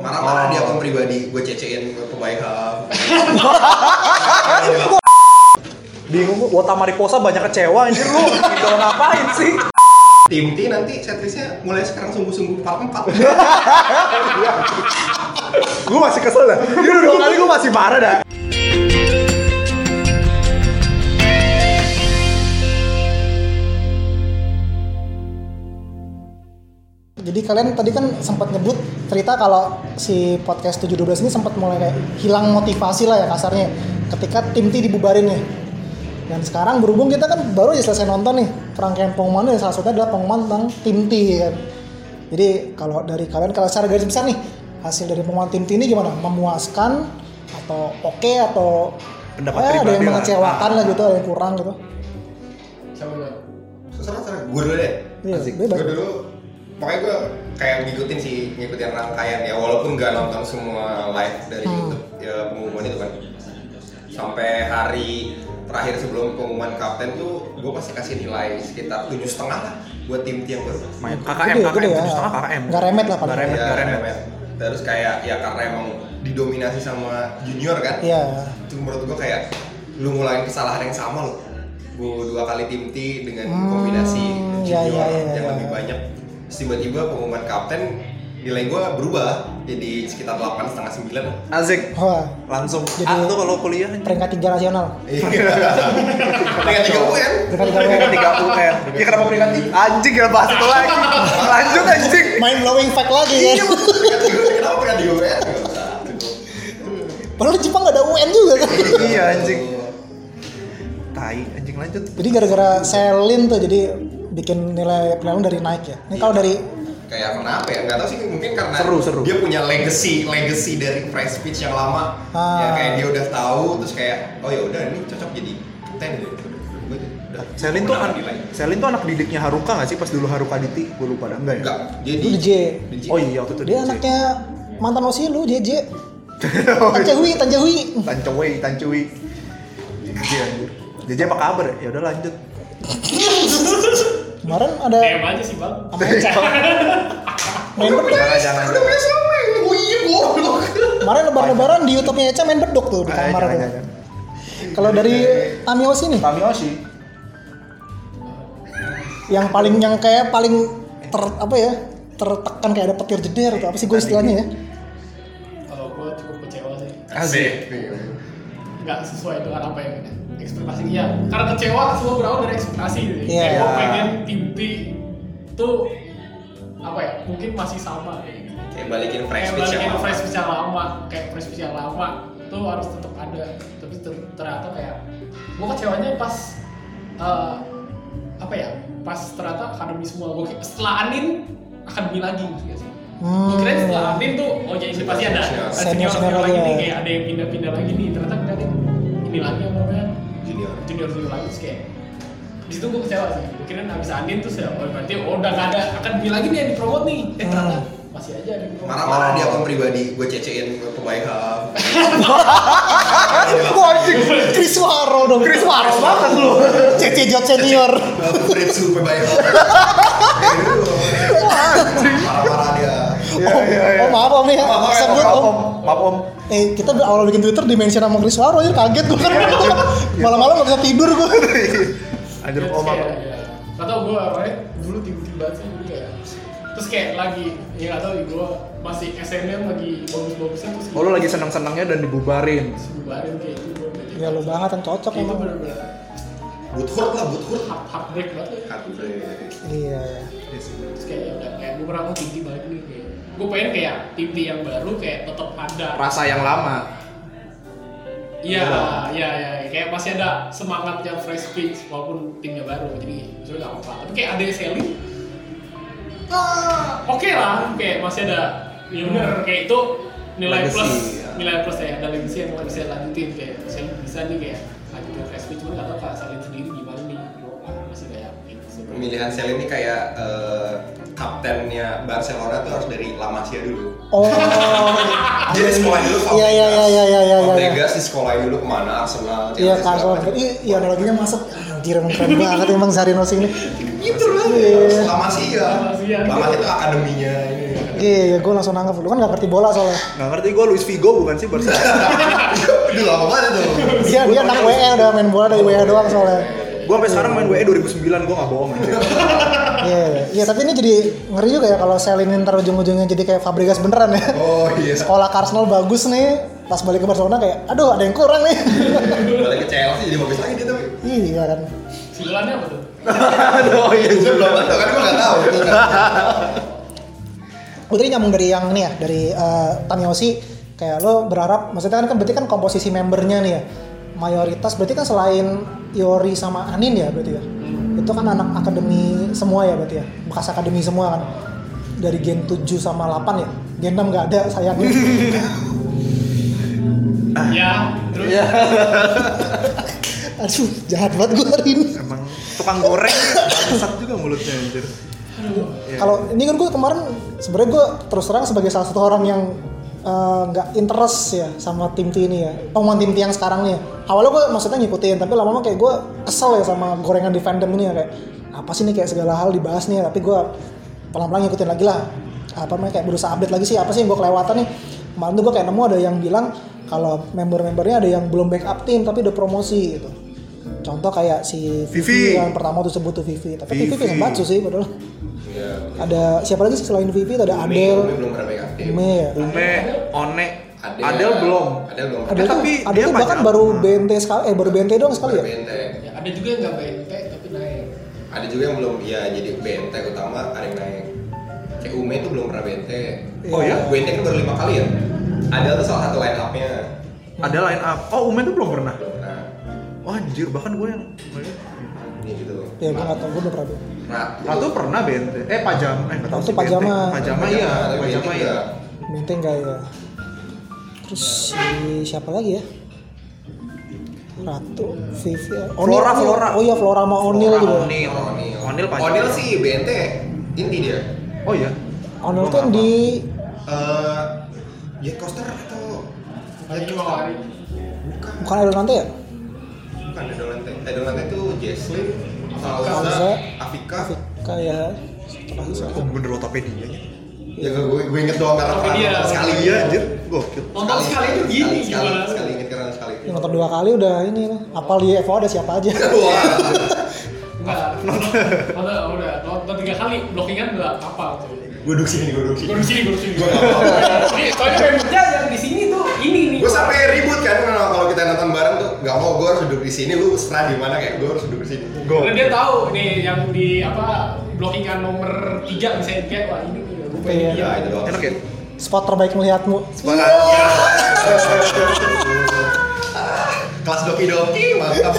Marah-marah di akun pribadi, gue cecein ke pebaikan. Bingung, Wota Mariposa banyak kecewa anjir lu. Gitu ngapain sih? Tim T nanti setlistnya mulai sekarang sungguh-sungguh part 4. Gue masih kesel dah. Ini udah dua kali gue masih marah dah. Jadi kalian tadi kan sempat nyebut cerita kalau si podcast 712 ini sempat mulai kayak hilang motivasi lah ya kasarnya ketika tim T dibubarin nih. Dan sekarang berhubung kita kan baru aja selesai nonton nih rangkaian pengumuman dan salah satunya adalah pengumuman tentang tim T kan. Jadi kalau dari kalian kalau secara garis besar nih hasil dari pengumuman tim T ini gimana? Memuaskan atau oke atau Pendapat ada yang pribadi lah. mengecewakan lah gitu, ada yang kurang gitu. Serah serah gue dulu deh. Iya, Asik. bebas. Gue dulu pokoknya gue kayak ngikutin sih ngikutin rangkaian ya walaupun nggak nonton semua live dari Hmm. YouTube ya, pengumuman itu kan. Sampai hari terakhir sebelum pengumuman kapten tuh gue pasti kasih nilai sekitar tujuh setengah lah buat tim T yang baru. Main Gede, KKM, gede KKM, ya. tujuh setengah KKM. Nggak remet lah paling. Nggak remet, Ya, nggak remet. remet. Terus kayak ya karena emang didominasi sama junior kan. Iya. itu menurut gue kayak lu ngulangin kesalahan yang sama lo gue dua kali tim T dengan kombinasi Hmm, junior iya, iya, iya, yang iya. lebih banyak Terus tiba-tiba pengumuman kapten nilai gue berubah jadi sekitar delapan setengah sembilan Azik. Wah, Langsung. Jadi- A tuh kalau kuliah. peringkat tiga nasional. dengan Iya. tiga UN Peringkat tiga Peringkat WN. 3 UN. Ya kenapa peringkat tiga? Anjing gak bahas itu lagi. Lanjut anjing. Main blowing fact lagi kan. Peringkat tiga- kenapa peringkat tiga UN Nggak usah. Padahal Jepang gak ada UN juga kan. Iya anjing. Gitu. Tai, anjing lanjut. Jadi gara-gara selin tuh jadi bikin nilai penilaian dari naik ya. Ini kalau dari kayak kenapa ya nggak tahu sih mungkin karena Seru, seru. dia punya legacy legacy dari fresh speech yang lama Ah. ya kayak dia udah tahu terus kayak oh ya udah ini cocok jadi kapten gitu Gua udah- Nah, Selin tuh kan menang anak, nilai. Selin tuh anak didiknya Haruka gak sih pas dulu Haruka Diti? Gue lupa dah, enggak ya? Enggak, jadi itu DJ. DJ. Oh iya waktu itu Dia DJ. anaknya mantan Osi lu JJ. Tanjahui, Tanjahui. Tancewi, Tancewi. Jadi anjir. Jadi apa kabar? Ya udah lanjut. Kemarin ada DM aja sih bang main bedok. Jangan jangan. Udah punya suami. ya, Oh iya goblok. Kemarin lebar-lebaran di YouTube-nya Eca main bedok tuh di Eh, kamar jangan, tuh. jangan. Kalau dari Tami Osi nih, Tami Oshi. yang paling yang kayak paling ter apa ya tertekan kayak ada petir jeder tuh apa sih gue istilahnya ya? kalau gue cukup kecewa sih Asik. nggak sesuai dengan apa yang ekspektasi dia karena kecewa kan semua berawal dari ekspektasi gitu Iya. Kayak gue pengen tim T tuh apa ya mungkin masih sama kayak gitu Kayak balikin fresh kayak speech yang balikin lama. fresh speech yang lama kayak fresh speech yang lama tuh harus tetap ada tapi ter- ternyata kayak gue kecewanya pas eh, apa ya pas ternyata akademi semua gue setelah anin akademi lagi gitu ya sih gue kira Hmm. setelah anin tuh oh jadi pasti ada Oh. ada Senior-senior senior senior lagi lagi nih ya. kayak ada yang pindah-pindah lagi nih ternyata ternyata ini lagi apa namanya Junior. junior junior lagi terus kayak di situ gue kecewa sih gue kira abis anin tuh saya oh berarti oh, udah gak ada akademi lagi nih yang dipromot nih eh Hmm. ternyata masih aja ada yang dipromot Marah-marah Oh. di akun pribadi, gue cecein ke pebaikan. Wah anjing, Chris Waro dong. Chris Waro banget lu. CC Jot Senior. Britsu pebaikan. gitu Marah-marah dia. Iya, iya, iya. Oh maaf om ya, Maaf, maaf, sebut Maaf om. om, maaf om. Eh kita udah awal bikin Twitter dimention sama Chris Waro aja kaget gue kan. Malam-malam gak bisa tidur gue. Anjir Terus om kayak, apa? ya, Gak tau gue orangnya dulu tim-tim banget sih jadi kayak Terus kayak lagi, ya gak tau gue masih SNM lagi bagus-bagusnya terus Oh lu lagi senang-senangnya dan dibubarin. Sebubarin kayak itu gue berarti Ya lu banget yang cocok Kayak itu emang. bener-bener Buthurt lah, buthurt. hard heartbreak banget ya. Iya. Terus kayak ya udah kayak gue pernah mau tim-tim balik nih kayak Gue pengen kayak tim-tim yang baru kayak tetap ada Rasa yang lama. Iya, iya, iya Kayak masih ada semangat yang fresh pitch walaupun timnya baru Jadi sebenernya gak apa-apa Tapi kayak ada yang selling ah, oke lah kayak masih ada ya bener kayak itu nilai Legacy, plus ya. nilai plus ya ada legacy yang nggak bisa lanjutin kayak saya bisa nih kayak lanjutin fresh pitch cuma nggak tahu kalau salin sendiri gimana nih Gua, ah, masih kayak gitu sebenarnya. Pemilihan Sel ini kayak eh, kaptennya Barcelona tuh harus dari La Masia dulu. Oh. Jadi sekolah dulu Iya iya iya iya iya iya. iya. Fabregas di sekolah dulu kemana Arsenal. Chelsea, Iya kan, segala soalnya- macam. Iya, iya analoginya masuk. Anjir emang keren banget emang Sarino sih ini. Gitu lah. Iya. Lama sih ya. Lama sih ya. Lama itu akademinya ini. Iya, gue langsung nangkep. Lu kan gak ngerti bola soalnya. Nggak ngerti gue Luis Figo bukan sih Barcelona. Aduh lama banget tuh. Dia Iya, dia anak WE udah main bola dari WE doang soalnya. gue sampai sekarang main E WE 2009 gue nggak bohong anjir. Iya, iya. iya. tapi ini jadi ngeri juga ya kalau Selinin ntar ujung-ujungnya jadi kayak Fabregas beneran ya. Oh iya. Sekolah ke Arsenal bagus nih, pas balik ke Barcelona kayak, aduh ada yang kurang nih. Balik ke Chelsea jadi bagus lagi dia tapi. iya kan. Simbolannya apa tuh? Oh, Aduh iya. Itu belum tahu kan gua enggak tahu. Itu kan. Gue tadi nyambung dari yang ini ya, dari eh, Tamiyoshi kayak lo berharap, maksudnya kan, kan berarti kan komposisi membernya nih ya, mayoritas berarti kan selain Yori sama Anin ya berarti ya, itu kan anak akademi semua ya berarti ya, bekas akademi semua kan, dari gen 7 sama 8 ya, gen 6 nggak ada sayangnya. Ya, terus Iya. Aduh, jahat banget gue hari ini. Emang tukang goreng bangsat juga mulutnya anjir. Iya. Kalau ini kan gue kemarin sebenarnya gue terus terang sebagai salah satu orang yang eh, nggak interest ya sama tim T ini ya. Omongan tim T yang sekarang nih. ya. Awalnya gue maksudnya ngikutin, tapi lama-lama kayak gue kesel ya sama gorengan di fandom ini ya kayak apa sih nih kayak segala hal dibahas nih, ya. tapi gue pelan-pelan ngikutin lagi lah. Apa namanya kayak berusaha update lagi sih apa sih yang gue kelewatan nih. Kemarin tuh gue kayak nemu ada yang bilang kalau member-membernya ada yang belum backup tim tapi udah promosi gitu. Contoh kayak si Vivi. Vivi, yang pertama tuh sebut tuh Vivi, tapi Vivi, Vivi. Vivi ngebantu sih padahal Iya. ada siapa lagi sih selain Vivi Itu ada Umi- Umi Adele belum pernah pegang tim. Ume ya Ume, One, Adel belum. Adel belum. Adele tuh, Eh, tapi Adele dia tuh bahkan banyak. baru Hmm. BNT sekali eh baru BNT doang sekali ya Benteng. ya, ada juga yang nggak BNT tapi naik. Ada juga yang belum ya jadi benteng utama, ada yang naik. Kayak Ume itu belum pernah benteng. Oh ya? Benteng kan baru lima kali ya. Adel tuh salah satu line up-nya. Ada line up. Oh Ume tuh belum pernah. Belum pernah. Wah anjir bahkan gue yang Ini gitu. ya gue nggak tahu gue belum pernah lihat. Ratu. Ratu pernah bente. Eh pajama. Eh nggak tahu Ratu sih, bente. pajama. Pajama iya. tapi Pajama Benteng iya. juga. BNT enggak ya terus si siapa lagi ya Ratu Vivi eh, Onil, Flora, Onil. Flora. oh iya Flora sama ya? Onil Flora, juga Onil. gitu. Onil. Onil pajama. Onil sih BNT. Inti dia. Oh iya. Onil Gua tuh nggak di Eh, Jet Coaster atau Lagi lima hari. bukan bukan Adelante ya bukan Edolante Edolante itu Jesslyn Salsa, Salsa Afika kayak satu lagi siapa? Oh bener lotopedia nya. ya gue gue inget doang karena Tapi pernah dia- nonton sekali Iya anjir. Gokil. Nonton sekali itu gini sekali, sekali, gimana? sekali inget karena sekali yang nonton dua kali udah ini lah apal di Evo ada siapa aja wah Enggak. Udah, udah. Nonton tiga kali blockingan udah apa tuh? gue duduk sini gue duduk sini Gue di sini, gue di sini. Gua nggak apa-apa. Ini soalnya membernya yang di sini tuh ini nih. gue sampai ribut kan kalau kalau kita nonton bareng tuh nggak mau gue harus duduk di sini lu serah di mana kayak gue harus duduk di sini Karena dia tahu nih yang di apa blockingan nomor tiga misalnya kayak wah ini nih, gue pengen Iya. dia. ya itu doang Enak ya. spot terbaik melihatmu Semangat. Ah, kelas doki doki mantap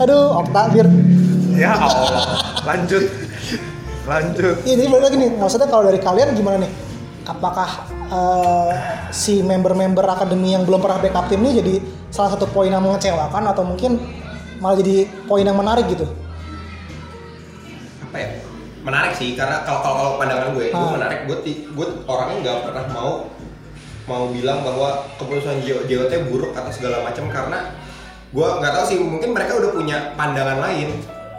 aduh Okta Beard Ya Allah. Lanjut. Lanjut. Iya, jadi balik lagi nih, maksudnya kalau dari kalian gimana nih? Apakah eh, si member-member akademi yang belum pernah backup tim ini jadi salah satu poin yang mengecewakan atau mungkin malah jadi poin yang menarik gitu? apa ya menarik sih karena kalau kalau kalau pandangan gue gue Ah. menarik gue ti- gue orangnya nggak pernah mau mau bilang bahwa keputusan J- JOT buruk atau segala macam karena gue nggak tahu sih mungkin mereka udah punya pandangan lain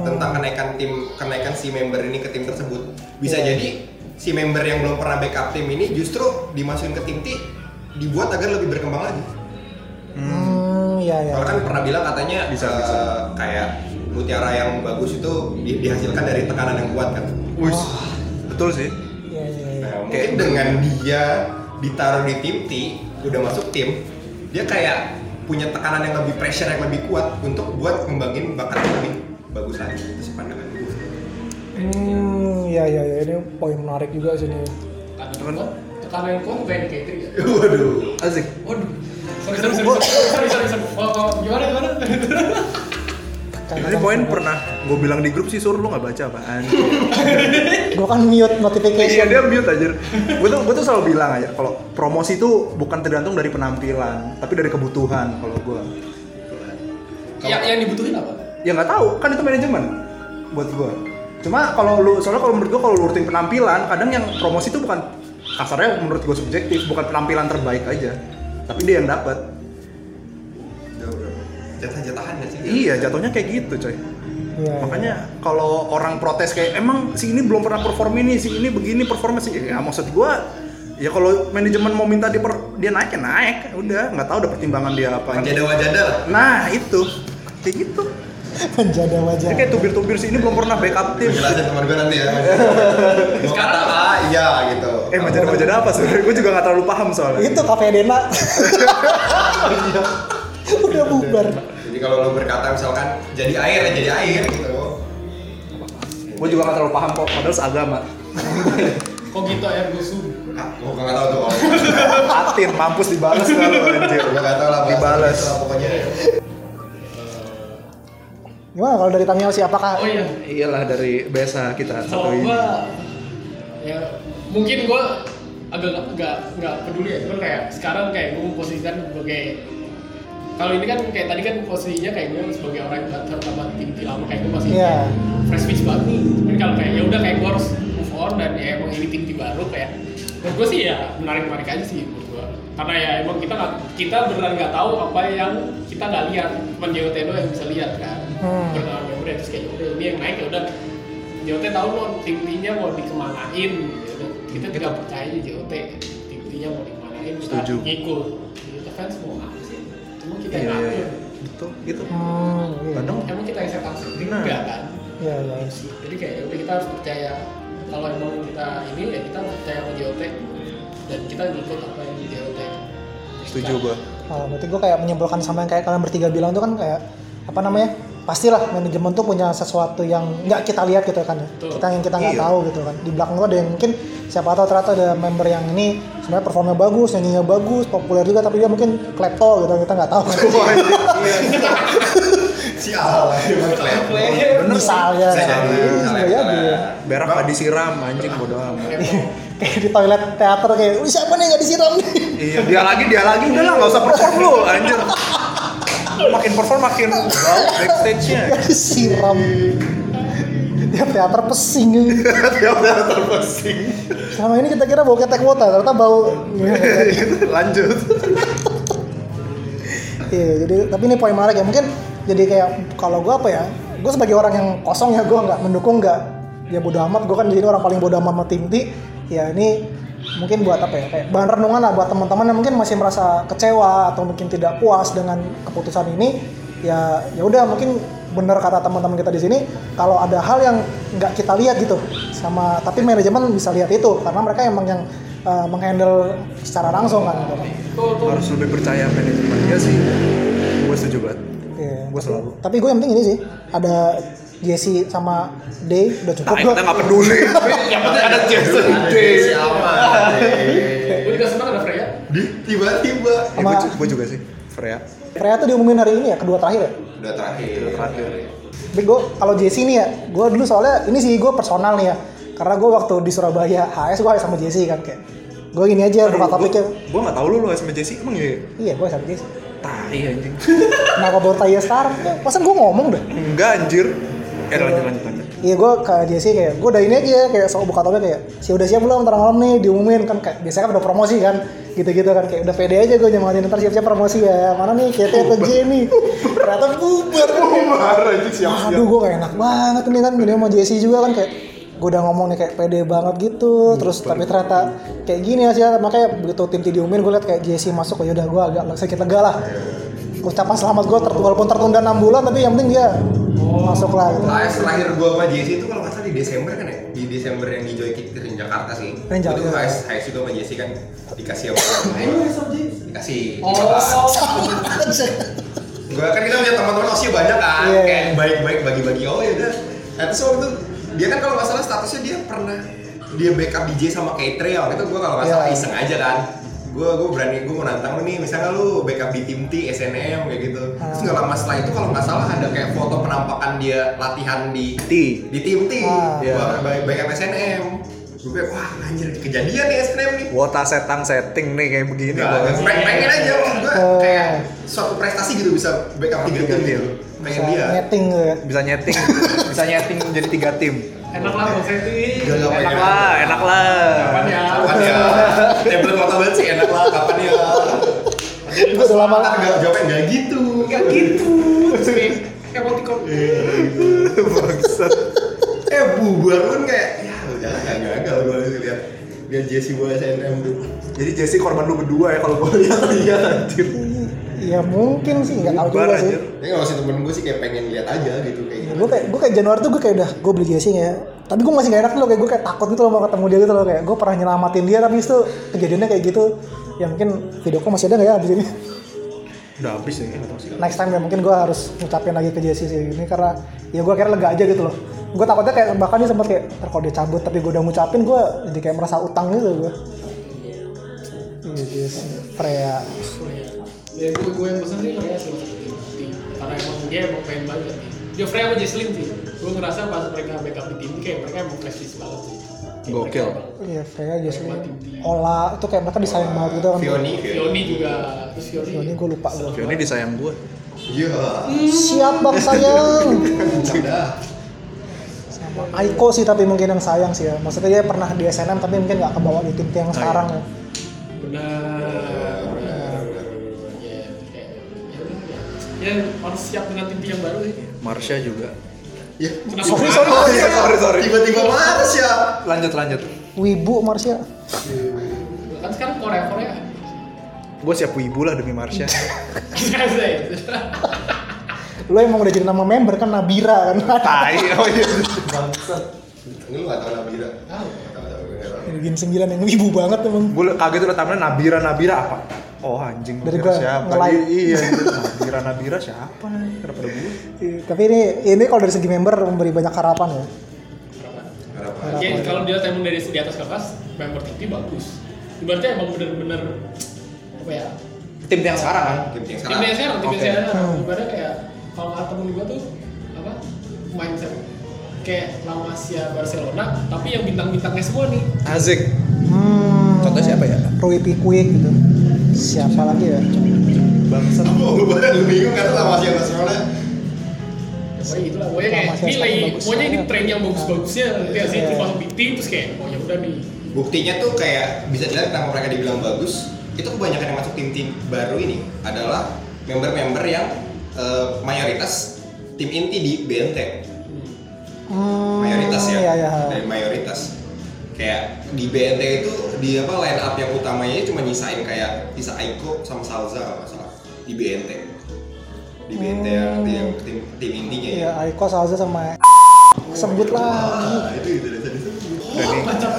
Hmm. tentang kenaikan tim kenaikan si member ini ke tim tersebut bisa Iya. jadi si member yang belum pernah backup tim ini justru dimasukin ke tim T dibuat agar lebih berkembang lagi Hmm, iya ya. Orang kan pernah bilang katanya Bisa, eh, bisa. kayak mutiara yang bagus itu di- dihasilkan dari tekanan yang kuat kan Wih. Betul sih. Iya iya iya. Nah, mungkin Kayak- dengan dia ditaruh di tim T, udah masuk tim, dia kayak punya tekanan yang lebih pressure yang lebih kuat untuk buat ngembangin bakat yang lebih bagus lagi itu sih pandangan gue. Hmm, iya iya iya. Ini poin menarik juga sih nih. Tekanan kuat, tekanan kuat bukan Katri ya. Waduh. Asik. Waduh. Sorry, sorry, sorry, sorry, sorry, sorry. Oh, oh, gimana, gimana? Ini kan poin pernah gue bilang di grup sih sur lu nggak baca apaan. Gue kan mute Iya notification. dia mute aja. Gue tuh gue tuh selalu bilang aja kalau promosi itu bukan tergantung dari penampilan, tapi dari kebutuhan kalau gue. Ya, Yang yang dibutuhin apa? Ya nggak tahu, kan itu manajemen buat gue. Cuma kalau lu soalnya kalau menurut gue kalau lu urutin penampilan, kadang yang promosi itu bukan kasarnya menurut gue subjektif, bukan penampilan terbaik aja, tapi dia yang dapat. Jauh, jauh. Jatah-jatahan ya sih. Iya, jatuhnya kayak Iya, gitu coy. Iya, Makanya kalau orang protes kayak emang si ini belum pernah perform ini, si ini begini performance ya maksud gua ya kalau manajemen mau minta dia, per- dia naik ya naik udah nggak tahu udah pertimbangan dia apa Wajada wajada lah. nah itu kayak gitu Menjada wajah. Dia kayak tubir-tubir si ini belum pernah backup tim Jelasin teman gue nanti ya. Mau kata A, iya gitu. eh wajah-wajah apa sebenarnya gue juga nggak terlalu paham soalnya Itu Cafe Dena. Udah bubar. Iya. Jadi kalau lo berkata misalkan jadi air ya jadi air gitu. gue juga nggak terlalu paham kok padahal seagama Kok gitu air gusum? Ah, Gue nggak tahu tuh. atin mampus dibales lah lu anjir Gue nggak tahu lah. bahasa Dibales. gitu lah Pokoknya. Gimana kalau dari Tamiya sih apakah Oh iya. iyalah dari biasa kita Kalau satu ini gua ya mungkin gua agak nggak nggak peduli ya cuman kayak sekarang kayak gue memposisikan sebagai kalau ini kan kayak tadi kan posisinya kayak gue sebagai orang yang baru sama tim tim lama kayak gue masih Iya. kayak fresh fish banget nih cuman kalau kayak ya udah kayak gue harus move on dan ya emang ini tim tim baru kayak menurut gue sih ya menarik menarik aja sih menurut gue karena ya emang kita nggak kita beneran nggak tahu apa yang kita nggak lihat cuman Geoteno yang bisa lihat kan Hmm. berlawan ya udah terus kayak udah ini yang naik ya udah JOT tahu mau tim-timnya mau dikemanain gitu. kita tidak percaya di JOT tim-timnya mau dikemanain kita Hmm, Setuju. ngikut kita fans mau apa sih cuma kita iya yang iya ngatur iya. betul gitu hmm, iya. kadang emang kita yang set up sendiri Nah. enggak kan Iya, iya. jadi kayak udah kita harus percaya kalau emang kita ini ya kita percaya sama JOT dan kita ngikut apa yang di JOT setuju gua Oh, berarti gue kayak menyimpulkan sama yang kayak kalian bertiga bilang itu kan kayak apa namanya? Pastilah manajemen tuh punya sesuatu yang nggak kita lihat gitu kan ya. Betul. Kita yang kita nggak Iya. tahu gitu kan. Di belakang gua ada yang mungkin siapa tahu ternyata ada member yang ini sebenarnya performnya bagus, nyanyinya bagus, populer juga tapi dia mungkin klepto gitu kita nggak tahu. Si Allah. Player. Iya, bener misalnya. Iya, Bisa jadi. Bisa misalnya, jadi. misalnya. berak gak disiram anjing bodo amat Kayak di toilet teater kayak, "Wih, siapa nih nggak disiram nih? iya dia lagi dia lagi udah lah nggak usah perform lu anjir makin perform makin bau backstage nya Nggak disiram. Dia teater pesing. eh. dia udah terpesing Selama ini kita kira bau ketek wota, ternyata bau lanjut Iya, jadi tapi ini poin menarik ya. Mungkin jadi kayak kalau gue apa ya, gue sebagai orang yang kosong ya, gue nggak mendukung nggak ya bodo amat. Gue kan jadi orang paling bodo amat sama tim T. Ya ini mungkin buat apa ya, kayak bahan renungan lah buat teman-teman yang mungkin masih merasa kecewa atau mungkin tidak puas dengan keputusan ini. Ya ya udah mungkin bener kata teman-teman kita di sini kalau ada hal yang nggak kita lihat gitu sama tapi manajemen bisa lihat itu karena mereka emang yang eh, menghandle secara langsung kan gitu. tuh tuh harus lebih percaya manajemen ya sih gue setuju banget Iya. Gua selalu. Tapi gue yang penting ini sih ada Jesse sama Day udah cukup nah gue. kita nggak peduli yang penting ada Jason Ada siapa? Iya, gue juga seneng ya? ada Freya Di tiba-tiba. Sama- gue juga sih Freya Freya tuh diumumin hari ini ya kedua terakhir ya. Udah terakhir. terakhir. Tapi gue kalau Jesse nih ya, gue dulu soalnya ini sih gue personal nih ya. Karena gue waktu di Surabaya HS gue sama Jesse kan kayak gue gini aja buka topiknya. gue nggak tahu lu lu sama Jesse emang ya Iya gue sama Jesse. tai anjing Kenapa baru tanya sekarang? Ya, Pasan gue ngomong deh. enggak anjir eh lanjut lanjut lanjut Iya gue ke Jesse kayak gue udah ini aja kayak soal buka topik kayak si udah siap belum ntar malam nih diumumin kan kayak biasanya kan udah promosi kan gitu-gitu kan kayak udah pede aja gue nyemangatin ntar siap-siap promosi ya mana nih KT atau J nih ternyata bubar marah anjing aduh gue gak enak banget nih kan gini sama Jesse juga kan kayak gue udah ngomong nih kayak pede banget gitu terus tapi ternyata kayak gini hasilnya makanya begitu tim tim diumumin gue liat kayak Jesse masuk oh yaudah gue agak sedikit lega lah ucapan selamat gue ter- walaupun tertunda 6 bulan tapi yang penting dia masuk lah gitu AS terakhir gua sama Jesse itu kalau nggak salah di Desember kan ya di Desember yang di Joy Kick di Jakarta sih Yang Jakarta. itu AS AS juga sama Jesse kan dikasih sama orang lain dikasih gua kan kita punya teman-teman osi banyak kan Iya. kayak baik-baik bagi-bagi oh ya udah nah terus waktu itu dia kan kalau nggak salah statusnya dia pernah dia backup DJ sama K3 waktu itu gua kalau nggak salah Iya. iseng aja kan gua gua berani gua mau nantang lu nih misalnya lu backup di tim T SNM kayak gitu terus nggak lama setelah itu kalau nggak salah ada kayak foto penampakan dia latihan di Ti di tim T Ah. Gua baik baik sama SNM gue kayak wah anjir kejadian nih SNM nih Wota setang setting nih kayak begini Gak, gua. pengen, pengen aja maksud gue Oh. kayak suatu prestasi gitu bisa backup tiga tim gitu pengen dia nyeting gitu kan bisa nyeting bisa nyeting jadi tiga tim enak lah buat setting Gak, gak enak pengen. lah enak lah Kapan ya? kapan ya tablet kota banget sih enak lah kapan ya Gua udah lama Ntar gak jawabnya gak gitu Gak gitu. Terus kayak emoticon. Bangsat. eh bubar pun kayak ya udah nggak gagal gue lihat lihat Jesse Boy SNM dulu Jadi Jesse korban lu berdua ya kalau gue lihat iya anjir. ya mungkin sih nggak tahu Bubar, juga sih anjir. tapi kalau si temen gue sih kayak pengen lihat aja gitu kayak gue kayak gue kayak Januari tuh gue kayak udah gue beli jersey ya tapi gue masih gak enak tuh loh kayak gue kayak takut gitu loh mau ketemu dia gitu loh kayak gue pernah nyelamatin dia tapi itu kejadiannya kayak gitu ya mungkin video call masih ada nggak ya abis ini Udah habis nih, enggak tahu sih. next time ya mungkin gue harus ngucapin lagi ke Jesse sih ini karena ya gue akhirnya lega aja gitu loh gue takutnya kayak bahkan dia sempat kayak "Ntar kalau dia cabut tapi gue udah ngucapin gue jadi kayak merasa utang gitu gue iya Jesse Freya ya gue gue yang pesen sih Freya sih waktu Iya, itu. karena emang dia emang pengen banget nih dia Freya sama Jesslyn sih gue ngerasa pas mereka backup di tim kayak mereka emang flash disk banget sih Kayak Gokil. mereka- iya Freya Jesse Ola itu kayak mereka disayang banget gitu kan Vioni Vioni Yoni juga terus Yoni Ini gue lupa gue Fiona disayang gue. iya siap bang sayang udah Sama Aiko sih tapi mungkin yang sayang sih ya. Maksudnya dia pernah di SNM tapi mungkin nggak kebawa di tim yang sekarang ya. benar benar benar ya kayak ya udah, ya. ya harus siap dengan tim yang baru sih Marsha juga. ya Kenapa? sorry Sorry, sorry sorry, sorry, sorry. iya. tiba-tiba Mars ya Lanjut lanjut. Wibu Marsha. kan sekarang Korea Korea Gue siap wibu lah demi Marsha. Lu emang udah jadi nama member kan Nabira kan. Tai. oh iya. ini lu nggak tahu Nabila Nggak tahu, nggak tahu. Gen 9 yang wibu banget emang. Gue kaget udah tampilnya Nabira Nabira apa? Oh anjing. Dari Nabira gua siapa? nge-like. Iya, Iya. anjir. Nabira Nabira siapa? nih? Kenapa ada gue? Iya, Tapi ini ini kalau dari segi member memberi banyak harapan ya. harapan ya kalau dia emang dari di atas kertas member tim bagus berarti emang bener-bener apa ya Tim yang sekarang kan? tim tim tim sekarang yang sekarang tim yang Oke. sekarang Hmm. ibaratnya kayak kalau kata temen gue tuh apa mindset kayak La Masia Barcelona tapi yang bintang-bintangnya semua nih Azik. Hmm. Contohnya siapa ya? Rui Piquet gitu. Siapa lagi ya? Bangsat. Oh, lu pada lu bingung kan lah masih atas mana? pokoknya gitu lah pokoknya kayak La Masia ini lagi bagus. pokoknya ini tren yang bagus-bagusnya nanti sih Iya. terus masuk di tim terus kayak oh ya udah nih Buktinya tuh kayak bisa dilihat kenapa mereka dibilang bagus. Itu kebanyakan yang masuk tim-tim baru ini adalah member-member yang eh, mayoritas tim inti di BNT. Hmm, mayoritas ya, Iya, iya. dari mayoritas kayak di BNT itu di apa line up yang utamanya cuma nyisain kayak Tisa Aiko sama Salza kalau nggak salah di BNT di BNT yang, Hmm. yang ya, tim, tim intinya Iya, ya Aiko Salza sama Iya, sebut lah. ah itu itu dari tadi tuh. oh mantap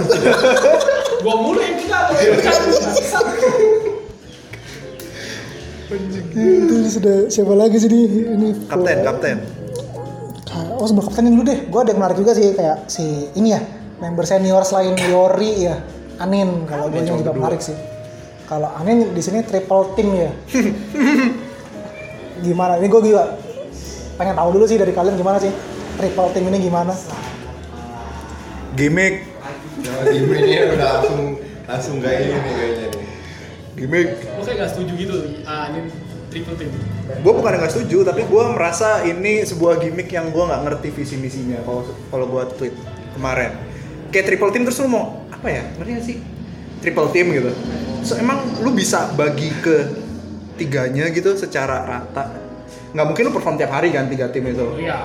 gua mulai yang kita tuh Itu sudah siapa lagi sih ini? ini Kapten, kapten. Kayak- Oh sebelum kaptenin dulu deh, gue ada yang menarik juga sih kayak si ini ya member senior selain Yori ya Anin kalau Anin gue yang cuma juga berdua. menarik sih. Kalau Anin di sini triple team ya. gimana? Ini gue juga pengen tahu dulu sih dari kalian gimana sih triple team ini gimana? Gimik. Nah, di BNT udah langsung langsung gak ini nih kayaknya nih Gimik. gua kayak gak setuju gitu ah ini triple team gue bukan nggak setuju tapi gue merasa ini sebuah gimmick yang gue nggak ngerti visi misinya kalau kalau gue tweet kemarin kayak triple team terus lu mau apa ya ngerti nggak sih triple team gitu so emang lu bisa bagi ke tiganya gitu secara rata nggak mungkin lu perform tiap hari kan tiga tim oh itu iya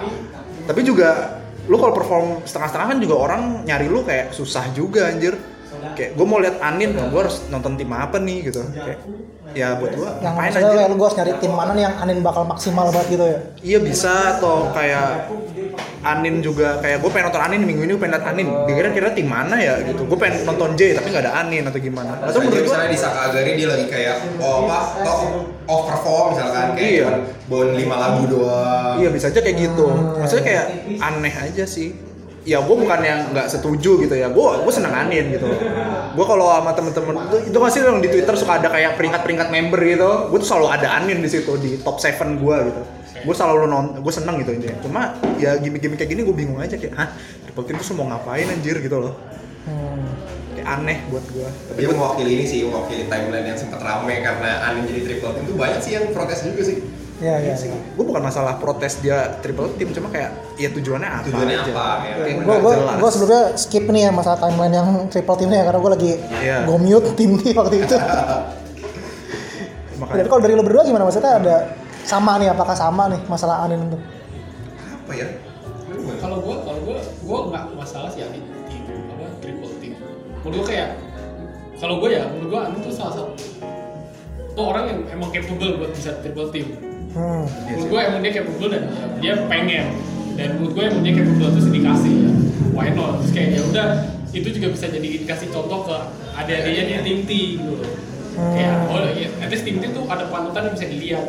tapi juga lu kalau perform setengah-setengah kan juga orang nyari lu kayak susah juga anjir kayak gue mau lihat Anin gue harus nonton tim apa nih gitu kayak ya buat gue Yang maksudnya kayak lu gue harus nyari tim mana nih yang Anin bakal maksimal banget gitu ya? Iya bisa atau kayak Anin juga kayak gue pengen nonton Anin minggu ini gue pengen liat Anin dikira kira tim mana ya gitu gue pengen nonton J tapi nggak ada Anin atau gimana atau atau menurut gue misalnya di Sakagari dia lagi kayak oh apa top off perform misalkan kayak Iya. cuma bon lima lagu doang iya bisa aja kayak gitu Ah. maksudnya kayak aneh aja sih ya gue bukan yang nggak setuju gitu ya gue gue seneng Anin gitu gue kalau sama temen-temen itu, itu pasti yang di Twitter suka ada kayak peringkat-peringkat member gitu gue tuh selalu ada Anin di situ di top 7 gue gitu gue selalu non gue seneng gitu intinya cuma ya gimmick-gimmick kayak gini gue bingung aja kayak ah triple team tuh mau ngapain anjir gitu loh Hmm. kayak aneh buat gua tapi dia mewakili ini sih mewakili timeline yang sempat rame karena Anin jadi triple team itu banyak sih yang protes juga sih Iya iya. gua bukan masalah protes dia triple team cuma kayak ya tujuannya apa tujuannya aja. apa ya Kayak Gue nggak gue jelas. gue sebelumnya skip nih ya masalah timeline yang triple team ini ya karena gue lagi Iya. go mute tim nih waktu itu. Makanya- Tapi kalau dari lo berdua gimana maksudnya ada sama nih apakah sama nih masalah Anin itu? apa ya Lu gimana? kalau gua gue nggak masalah sih Ani tim apa triple team menurut gue kayak kalau gue ya menurut gue Ani tuh salah satu tuh orang yang emang capable buat bisa triple team Hmm. menurut gue emang dia capable dan ya, dia pengen dan menurut gue emang dia capable terus dikasih ya why not terus kayak ya udah itu juga bisa jadi dikasih contoh ke adik-adiknya di tim T gitu loh kayak Hmm. oh ya at least tim T tuh ada panutan yang bisa dilihat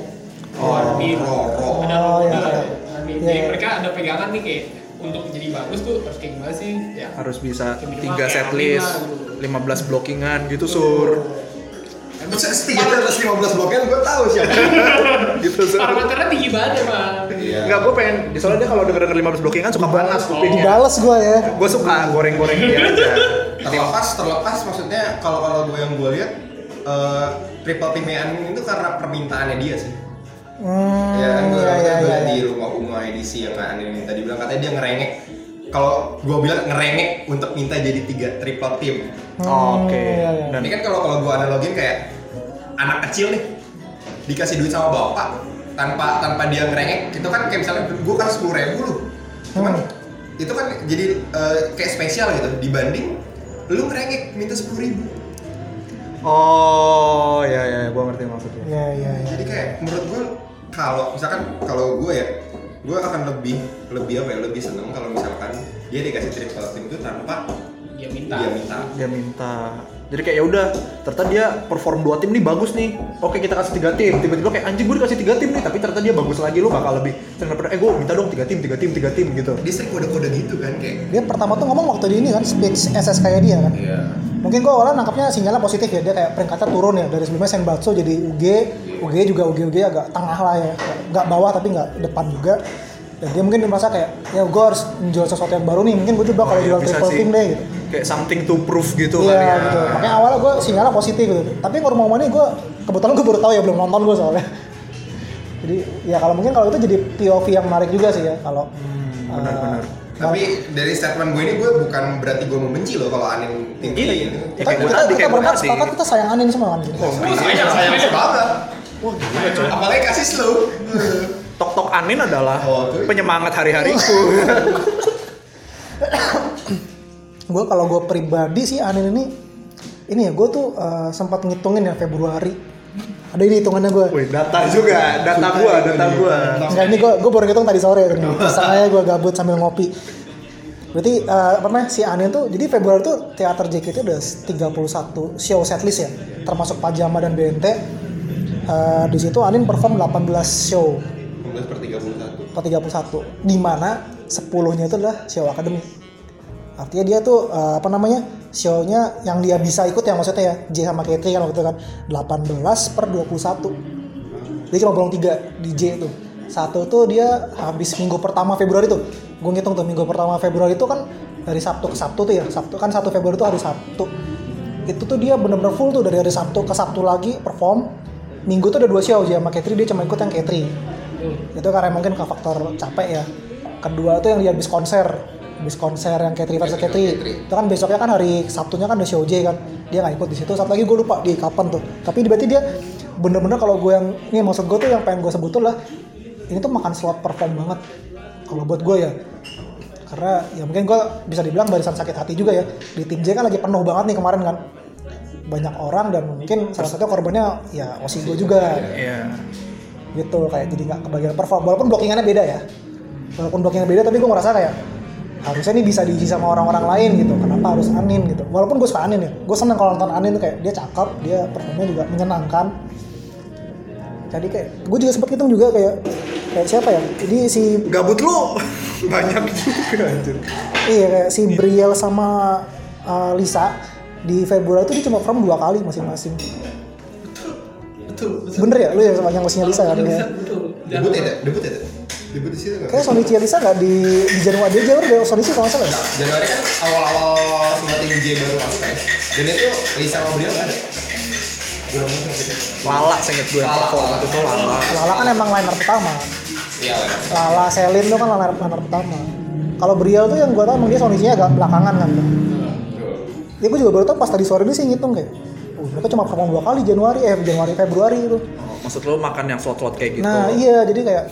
Oh, ada Roro. ada Oh, Roro, iya, ada- iya. ada- Iya, jadi iya. mereka ada pegangan nih kayak untuk jadi bagus tuh harus kayak gimana sih ya harus bisa Minimal tiga kayak set list, Amin 15 blockingan gitu sur. emang Setiap ada 15 bloknya gue tahu siapa. gitu sur. parameternya tinggi banget ya bang Iya. Enggak, gue pengen soalnya dia kalau denger denger 15 blockingan suka panas kupingnya. Dibales gue ya. Gue suka goreng-goreng dia aja. terlepas terlepas maksudnya kalau kalau gue yang gue lihat eh, triple team Amin itu karena permintaannya dia sih. Hmm, ya kan gue iya, iya, gue iya. di rumah Uma edisi yang Anin minta dibilang katanya dia ngerengek. Kalau gue bilang ngerengek untuk minta jadi tiga triple team. Oke. iya, iya. Dan Ini kan kalau kalau gue analogin kayak anak kecil nih dikasih duit sama bapak tanpa tanpa dia ngerengek itu kan kayak misalnya gue kan sepuluh ribu lu cuman itu kan jadi eh, kayak spesial gitu dibanding lu ngerengek minta sepuluh ribu oh ya ya gue ngerti maksudnya. Iya, iya, iya. jadi kayak menurut gue kalau misalkan kalau gue ya gue akan lebih lebih apa ya lebih seneng kalau misalkan dia dikasih triple team itu tanpa dia Iya, minta dia minta Dia minta jadi kayak ya udah, ternyata dia perform dua tim nih bagus nih. Oke kita kasih tiga tim. Tiba-tiba kayak anjing gue dikasih tiga tim nih, tapi ternyata dia bagus lagi lu bakal lebih. Sering daripada, eh gue minta dong tiga tim, tiga tim, tiga tim gitu. dia sering kode-kode gitu kan kayak Dia pertama tuh ngomong waktu di ini kan speech SS kayak dia kan. iya Mungkin gua awalnya nangkapnya sinyalnya positif ya, dia kayak peringkatnya turun ya dari sebelumnya Senbatsu jadi UG, UG juga UG UG agak tengah lah ya, nggak bawah tapi nggak depan juga. Dan dia mungkin merasa kayak ya gua harus menjual sesuatu yang baru nih, mungkin gua coba kalau Wah, ya jual bisa triple sih. team deh gitu. Kayak something to prove gitu Iya kali ya. gitu. Makanya awalnya gue sinyalnya positif gitu. Tapi rumah rumah ini gue kebetulan gue baru tahu ya belum nonton gue soalnya. Jadi ya kalau mungkin kalau itu jadi POV yang menarik juga sih ya kalau. Hmm, benar-benar. eh, tapi dari statement gue ini gue bukan berarti gue membenci loh kalau Anin tinggi Iya, gitu. iya. kita, kayak gue tadi, kita, kayak kita gue berempat tadi. sepakat kita sayang Anin semua kan. Oh, Oh, sayang, sayang, sayang sayang. banget. Apalagi kasih slow. Tok Tok Anin adalah Oh, tuh. penyemangat hari-hariku. Gue kalau gue pribadi sih Anin ini ini ya gue tuh eh, sempat ngitungin ya Februari. Ada ini hitungannya gue. Wih, data juga, data gua, data gua. Enggak ini gue gue baru ngitung tadi sore Setengahnya gue gabut sambil ngopi Berarti eh, apa namanya si Anin tuh Jadi Februari tuh teater JKT itu udah 31 show setlist ya Termasuk Pajama dan BNT Eh, Di situ Anin perform 18 show 15 per 31. atau 31 di mana 10-nya itu adalah show akademik. Artinya dia tuh eh, apa namanya? Show-nya yang dia bisa ikut ya maksudnya ya. J sama KT kan waktu itu kan 18 per 21. Jadi cuma bolong 3 di J itu. Satu tuh dia habis minggu pertama Februari tuh. Gue ngitung tuh minggu pertama Februari itu kan dari Sabtu ke Sabtu tuh ya. Sabtu kan 1 Februari tuh hari Sabtu. Itu tuh dia bener-bener full tuh dari hari Sabtu ke Sabtu lagi perform. Minggu tuh ada dua show J sama K3 dia cuma ikut yang K3 itu karena mungkin ke faktor capek ya kedua tuh yang dia habis konser habis konser yang K3 versus K3 itu kan besoknya kan hari Sabtunya kan ada show J kan dia nggak ikut di situ satu lagi gue lupa di kapan tuh tapi berarti dia bener-bener kalau gue yang ini maksud gue tuh yang pengen gue sebut tuh lah ini tuh makan slot perform banget kalau buat gue ya karena ya mungkin gue bisa dibilang barisan sakit hati juga ya di tim J kan lagi penuh banget nih kemarin kan banyak orang dan mungkin salah satu korbannya ya osi gue juga Iya. gitu kayak jadi nggak kebagian perform walaupun blockingannya beda ya walaupun blockingannya beda tapi gue ngerasa kayak harusnya ini bisa diisi sama orang-orang lain gitu kenapa harus Anin gitu walaupun gue suka Anin ya gue seneng kalau nonton Anin tuh kayak dia cakep dia performnya juga menyenangkan jadi kayak gue juga sempet hitung juga kayak kayak siapa ya jadi si Gabut lu banyak juga anjir. iya kayak si Briel sama uh, Lisa di Februari itu dia cuma perform dua kali masing-masing betul betul bener ya lu yang sepanjang masihnya Lisa kan Bisa, ya betul Dan- Debut ya, Dek? debut ya, Dek? debut di situ nggak? kayak Sonichi Lisa nggak di di Januari dia Januari dia Sonichi kalau nggak salah ya? Januari kan awal-awal sempat DJ baru masuk ya. Dan itu Lisa sama Brian nggak ada. Belum masuk gitu. Lala sengit gue yang Lala, perform Lala. itu tuh Lala. Lala kan emang liner pertama. Iya, Len. Lala Selin tuh kan liner, liner pertama. Kalau Briel tuh yang gue tau emang dia kondisinya agak belakangan kan. tuh. Ya gue juga baru tau pas tadi sore ini sih ngitung kayak. Oh, mereka cuma perform dua kali Januari, eh Januari Februari itu. Oh, Maksud lu makan yang slot-slot kayak gitu. Nah iya Nah, jadi kayak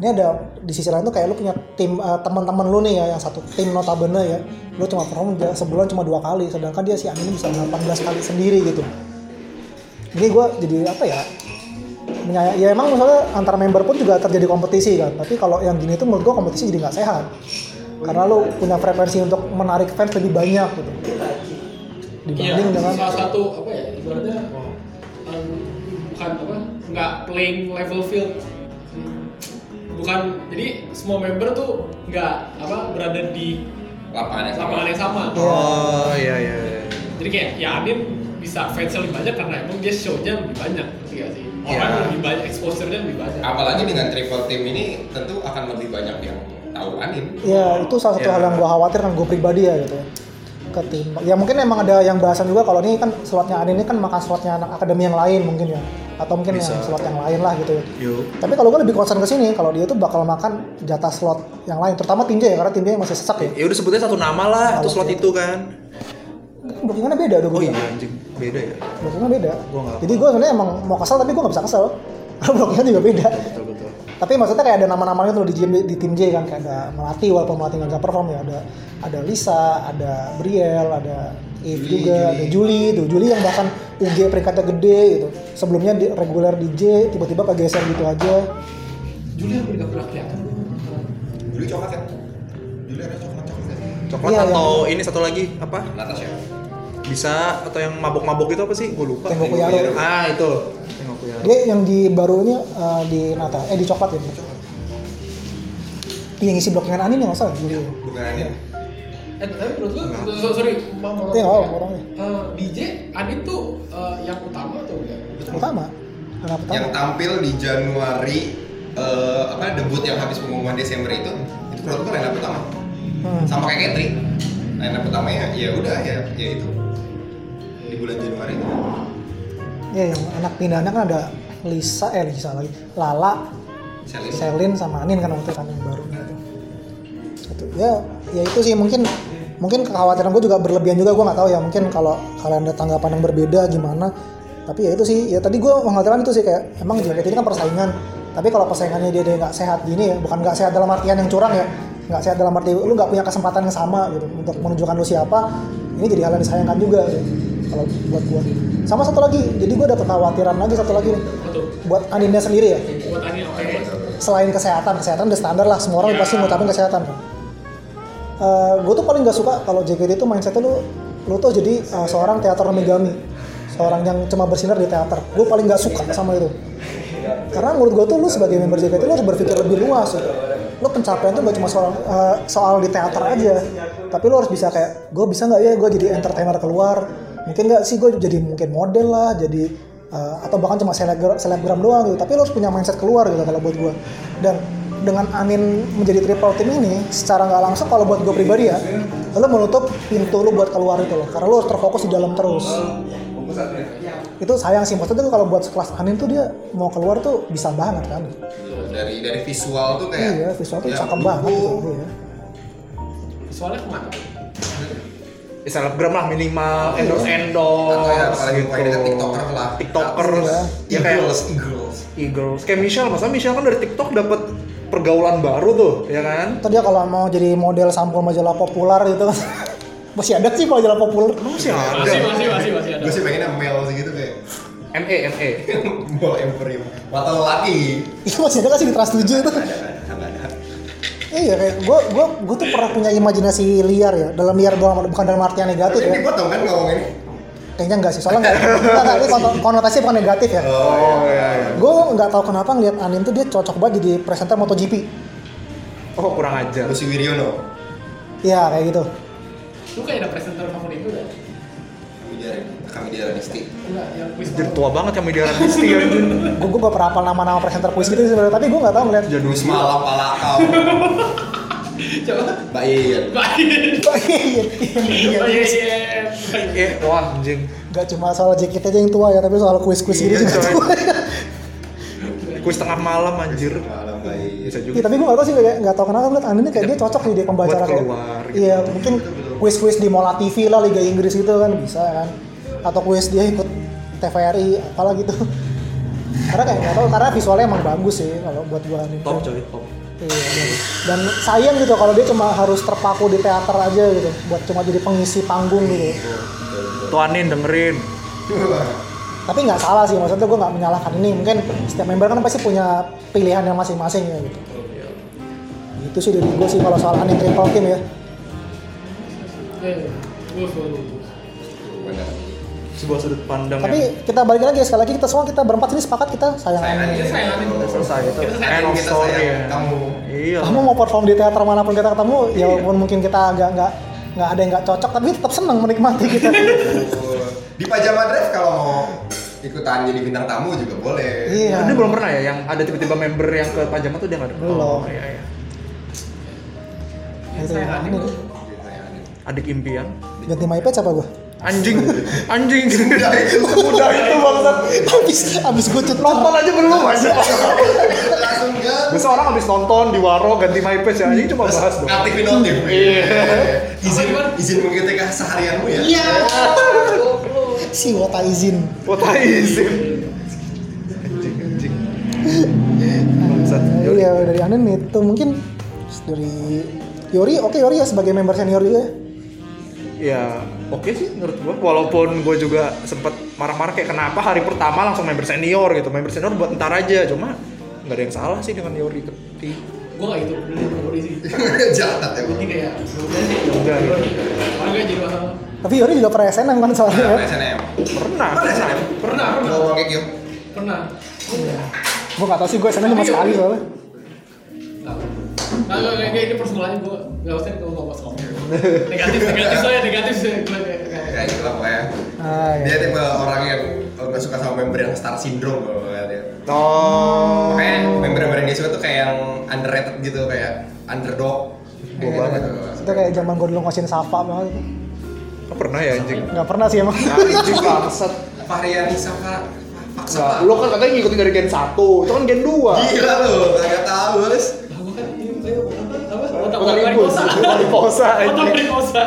ini ada di sisi lain tuh kayak lu punya tim eh, teman-teman lu nih ya yang satu tim notabene ya lu cuma perform ja- sebulan cuma dua kali sedangkan dia si Amin ini bisa 18 kali sendiri gitu ini gue jadi apa ya menyayang ya emang misalnya antar member pun juga terjadi kompetisi kan tapi kalau yang gini tuh menurut gue kompetisi jadi nggak sehat karena lu punya frekuensi untuk menarik fans lebih banyak gitu dibanding dengan Iya, salah satu apa ya ibaratnya um, bukan apa nggak playing level field Hmm, bukan jadi semua member tuh nggak apa berada di lapangannya sama lapangan yang sama Oh iya iya. iya. jadi kayak ya Amin bisa fans lebih banyak karena emang dia show-nya lebih banyak ngerti nggak sih orang Iya. lebih banyak exposure-nya lebih banyak apalagi dengan triple team ini tentu akan lebih banyak yang tahu Anin Ya itu salah satu Ya. hal yang gue khawatir dan gue pribadi ya gitu. Ketimbang, ya mungkin emang ada yang bahasan juga kalau ini kan slotnya Adin ini kan makan slotnya anak akademi yang lain mungkin ya, atau mungkin Bisa. yang slot yang lain lah gitu. Yuk. Tapi kalau gue lebih concern ke sini, kalau dia tuh bakal makan jatah slot yang lain, terutama tinja ya karena tinja yang masih sesak ya. Ya udah sebutnya satu nama lah itu slot itu kan. Bookingannya beda udah Oh gue iya bilang. anjing beda ya. Bookingannya beda. Gua nggak Jadi gue sebenarnya emang mau kesel tapi gue nggak bisa kesel. Karena bloknya juga beda. Betul betul. Tapi maksudnya kayak ada nama-namanya tuh di, di, di tim J kan kayak ada Melati walaupun Melati nggak perform ya ada ada Lisa, ada Briel, ada Eve Juli, juga, Juli. ada Juli tuh Juli yang bahkan UG peringkatnya gede gitu. Sebelumnya di, reguler di J tiba-tiba kegeser gitu aja. Juli hampir nggak pernah kelihatan dulu coklat kan dulu ada coklat coklat Coklat Iya, atau ini satu lagi apa? Natasha Bisa atau yang mabok-mabok itu apa sih? Gue lupa. Tengok Yaro. Ah itu. Tengok Yaro. Dia yang di barunya eh, di Nata, eh di coklat ya. di Coklat. Dia yang isi blok dengan Anin ya nggak salah Juli. bukan Anin Eh, tapi menurut lu, so- sorry, mau mau Iya, ngomong mau orangnya. ya. Eh, DJ, Adit tuh eh, yang utama atau enggak? Utama. Anak yang pertama. tampil di Januari eh, apa debut yang habis pengumuman Desember itu itu menurut gue line up utama Hmm. sama kayak Katri line up utamanya ya udah ya ya itu di bulan Januari itu Ya yang anak pindahan kan ada Lisa, eh Lisa lagi, Lala, Selin Selin sama Anin kan waktu itu kan yang baru gitu. Gitu. Ya, ya itu sih mungkin mungkin kekhawatiran gue juga berlebihan juga gue nggak tahu ya mungkin kalau kalian ada tanggapan yang berbeda gimana tapi ya itu sih ya tadi gue mengatakan itu sih kayak emang JKT ini kan persaingan tapi kalau persaingannya dia dia nggak sehat gini ya bukan nggak sehat dalam artian yang curang ya nggak sehat dalam arti lu nggak punya kesempatan yang sama gitu untuk menunjukkan lu siapa ini jadi hal yang disayangkan juga gitu. kalau buat gue sama satu lagi jadi gue ada kekhawatiran lagi satu lagi nih Betul. buat Aninnya sendiri ya Buat Adit oke. selain kesehatan, kesehatan udah standar lah, semua orang Ya. pasti ngutamain kesehatan kan. gue tuh paling gak suka kalau JKT itu mindsetnya lu, lu tuh jadi eh, seorang teater megami, seorang yang cuma bersinar di teater. Gue paling gak suka sama itu. Karena menurut gue tuh lu sebagai member JKT lu harus berpikir lebih luas. Gitu. Lu pencapaian tuh gak cuma soal eh, soal di teater aja, tapi lu harus bisa kayak gue bisa nggak ya gue jadi entertainer keluar, mungkin nggak sih gue jadi mungkin model lah, jadi eh, atau bahkan cuma selebgram, selebgram doang gitu. Tapi lu harus punya mindset keluar gitu kalau buat gue. Dan dengan Anin menjadi triple team ini secara nggak langsung kalau buat gue pribadi ya lu menutup pintu lu buat keluar itu loh karena lu harus terfokus di dalam terus ya? itu sayang sih maksudnya tuh kalau buat sekelas Anin tuh dia mau keluar tuh bisa banget kan dari dari visual tuh kayak iya visual tuh ya, cakep banget buku. gitu iya. Soalnya kemana? Ya, selebgram lah minimal Oh, endorse iya. atau ya endorse apalagi kayak ada tiktoker lah Iya. tiktoker Iya, ya kayak Eagles Eagles Eagles kayak Michelle masa Michelle kan dari TikTok dapat pergaulan baru tuh ya kan Ntar dia kalau mau jadi model sampul majalah populer gitu kan masih ada sih majalah populer lu masih Iya, Masih, ada masih, masih, masih ada. gue sih pengennya male sih gitu kayak ME ME Ball Emporium mata lelaki itu masih ada kan sih di Trans 7 itu iya kayak gue gue gue tuh pernah punya imajinasi liar ya dalam liar doang bukan dalam artian negatif tapi ya dipotong kan ngomongin kayaknya enggak sih soalnya enggak enggak, enggak, ini kono- konotasi bukan negatif ya oh iya iya gue nggak tahu kenapa ngeliat Anin tuh dia cocok banget jadi presenter MotoGP oh kurang ajar Lucy Wiryono ya kayak gitu Lu kayak ada presenter favorit lu nggak? kami diare kami diare Disti Enggak, yang quiz jadi tua banget yang media radisti anjing gue gue gak pernah hafal nama-nama presenter puisi gitu sebenarnya tapi gue nggak tahu ngeliat jadi Wisma Lapalakau Coba. Mbak Yeyen Baik. Iya, iya, iya. Baik. eh wah anjing nggak cuma soal JKT aja yang tua ya tapi soal kuis-kuis gitu Iya, juga coy. tua ya. kuis tengah malam anjir malam Mbak Yeyen bisa Iya, juga tapi gue gak tau sih kayak nggak tau kenapa ngeliat Anin ini kayak dia cocok nih dia pembacara Buat kayak keluar, gitu. iya mungkin kuis-kuis di Mola TV lah Liga Inggris gitu kan bisa kan atau kuis dia ikut TVRI apalah gitu karena kayak nggak tahu karena visualnya emang bagus sih kalau buat gua nih top coy top Iya, dan- dan sayang gitu kalau dia cuma harus terpaku di teater aja gitu buat cuma jadi pengisi panggung gitu Tuanin dengerin. tapi nggak salah sih maksudnya gue nggak menyalahkan ini mungkin setiap member kan pasti punya pilihan yang masing-masing ya gitu itu sih dari gue sih kalau soal aneh triple team ya Eh, gue selalu Bener. sebuah sudut pandang tapi yang kita balik lagi ya, sekali lagi kita semua kita berempat sini sepakat kita sayang Sayang anime. aja. Kita sayangin Kita selesai itu Kita sayang end of kita story sayang ya. kamu. iya kamu mau perform di teater manapun kita ketemu ya walaupun mungkin kita agak nggak nggak ada yang nggak cocok tapi tetap senang menikmati kita Di Pajama Drive kalau mau ikutan jadi bintang tamu juga boleh. iya Ini belum pernah ya yang ada tiba-tiba member yang ke pajama tuh dia nggak ada. Belum. Oh, iya, iya. Gitu ya. Ini gua. Jadi sayangin. Adik impian. ganti my page apa gue Anjing. Anjing. Udah Iya, itu. itu bangsat. abis abis gue cut Nonton aja belum aja. Langsung kan. Biasa orang habis nonton di waro ganti my page ya anjing cuma bahas dong. Aktifin notif. Iya. Izin izin mengikuti keseharianmu ya. Iya. si wota izin Wota izin. Anjing anjing. Bangsat. Yaudah. Iya dari Anen itu mungkin terus dari Yori oke Yori ya sebagai member senior juga ya. ya oke sih menurut gua walaupun gua juga sempet marah-marah kayak kenapa hari pertama langsung member senior gitu member senior buat ntar aja cuma nggak ada yang salah sih dengan Yori Keti Gue gak itu peduli peduli sih. Jahat ya. Ini kayak udah sih. Udah, gitu. Orang gak jadi masalah. tapi Yori juga pernah SNM kan soalnya ya Nah, SNM. pernah Pernah pernah SNM? Pernah, pernah, Ngomong kayak gitu. pernah. Udah. gue gak tau sih gue SNM cuma Tapi sekali Yori- soalnya Nah, enggak, enggak, enggak, ini persoalannya gue Gak usah gue gak usah ngomong Negatif, negatif saya, negatif saya Gua kayak- kayak- Ya gitu lah pokoknya. ah, Dia iya. tipe orang yang kalau nggak suka sama member yang star syndrome kalau gua lihat ya. oh Makanya member-member yang dia suka tuh kayak yang underrated gitu kayak underdog. Kayak banget. gitu. itu kayak zaman gue dulu ngosin Safa banget oh, pernah ya anjing nggak pernah sih emang Nah, anjing bangsat Varian Saka Paksa Nah, Pak. lo kan katanya ngikutin dari gen 1, itu kan gen 2 Gila lu, kagak tahu Lis. Lah, gua kan ini, saya apa, apa, otak Otak ribut, varikosa. otak varikosa, anjing. Otak varikosa.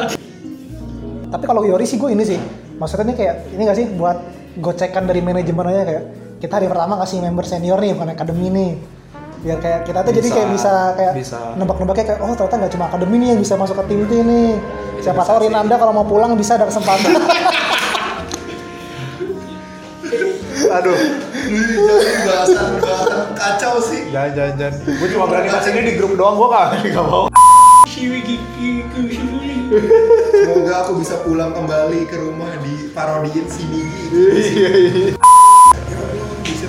tapi kalau Yori sih gue ini sih maksudnya ini kayak ini gak sih buat gocekan dari manajemen aja kayak kita hari pertama kasih member senior nih bukan akademi nih biar kayak kita tuh jadi Bisa, kayak bisa kayak bisa. nebak-nebaknya kayak oh ternyata nggak cuma akademi nih yang bisa masuk ke tim T nih siapa tahu Rinanda kalau mau pulang bisa ada kesempatan aduh Jadi bahasan bahasan kacau sih. jangan jangan jangan gue cuma berani kasih ini di grup doang, gue kagak nggak mau Shiwi gigi kushui. Semoga aku bisa pulang kembali ke rumah di parodiin si Nigi. Ya Allah, bisa.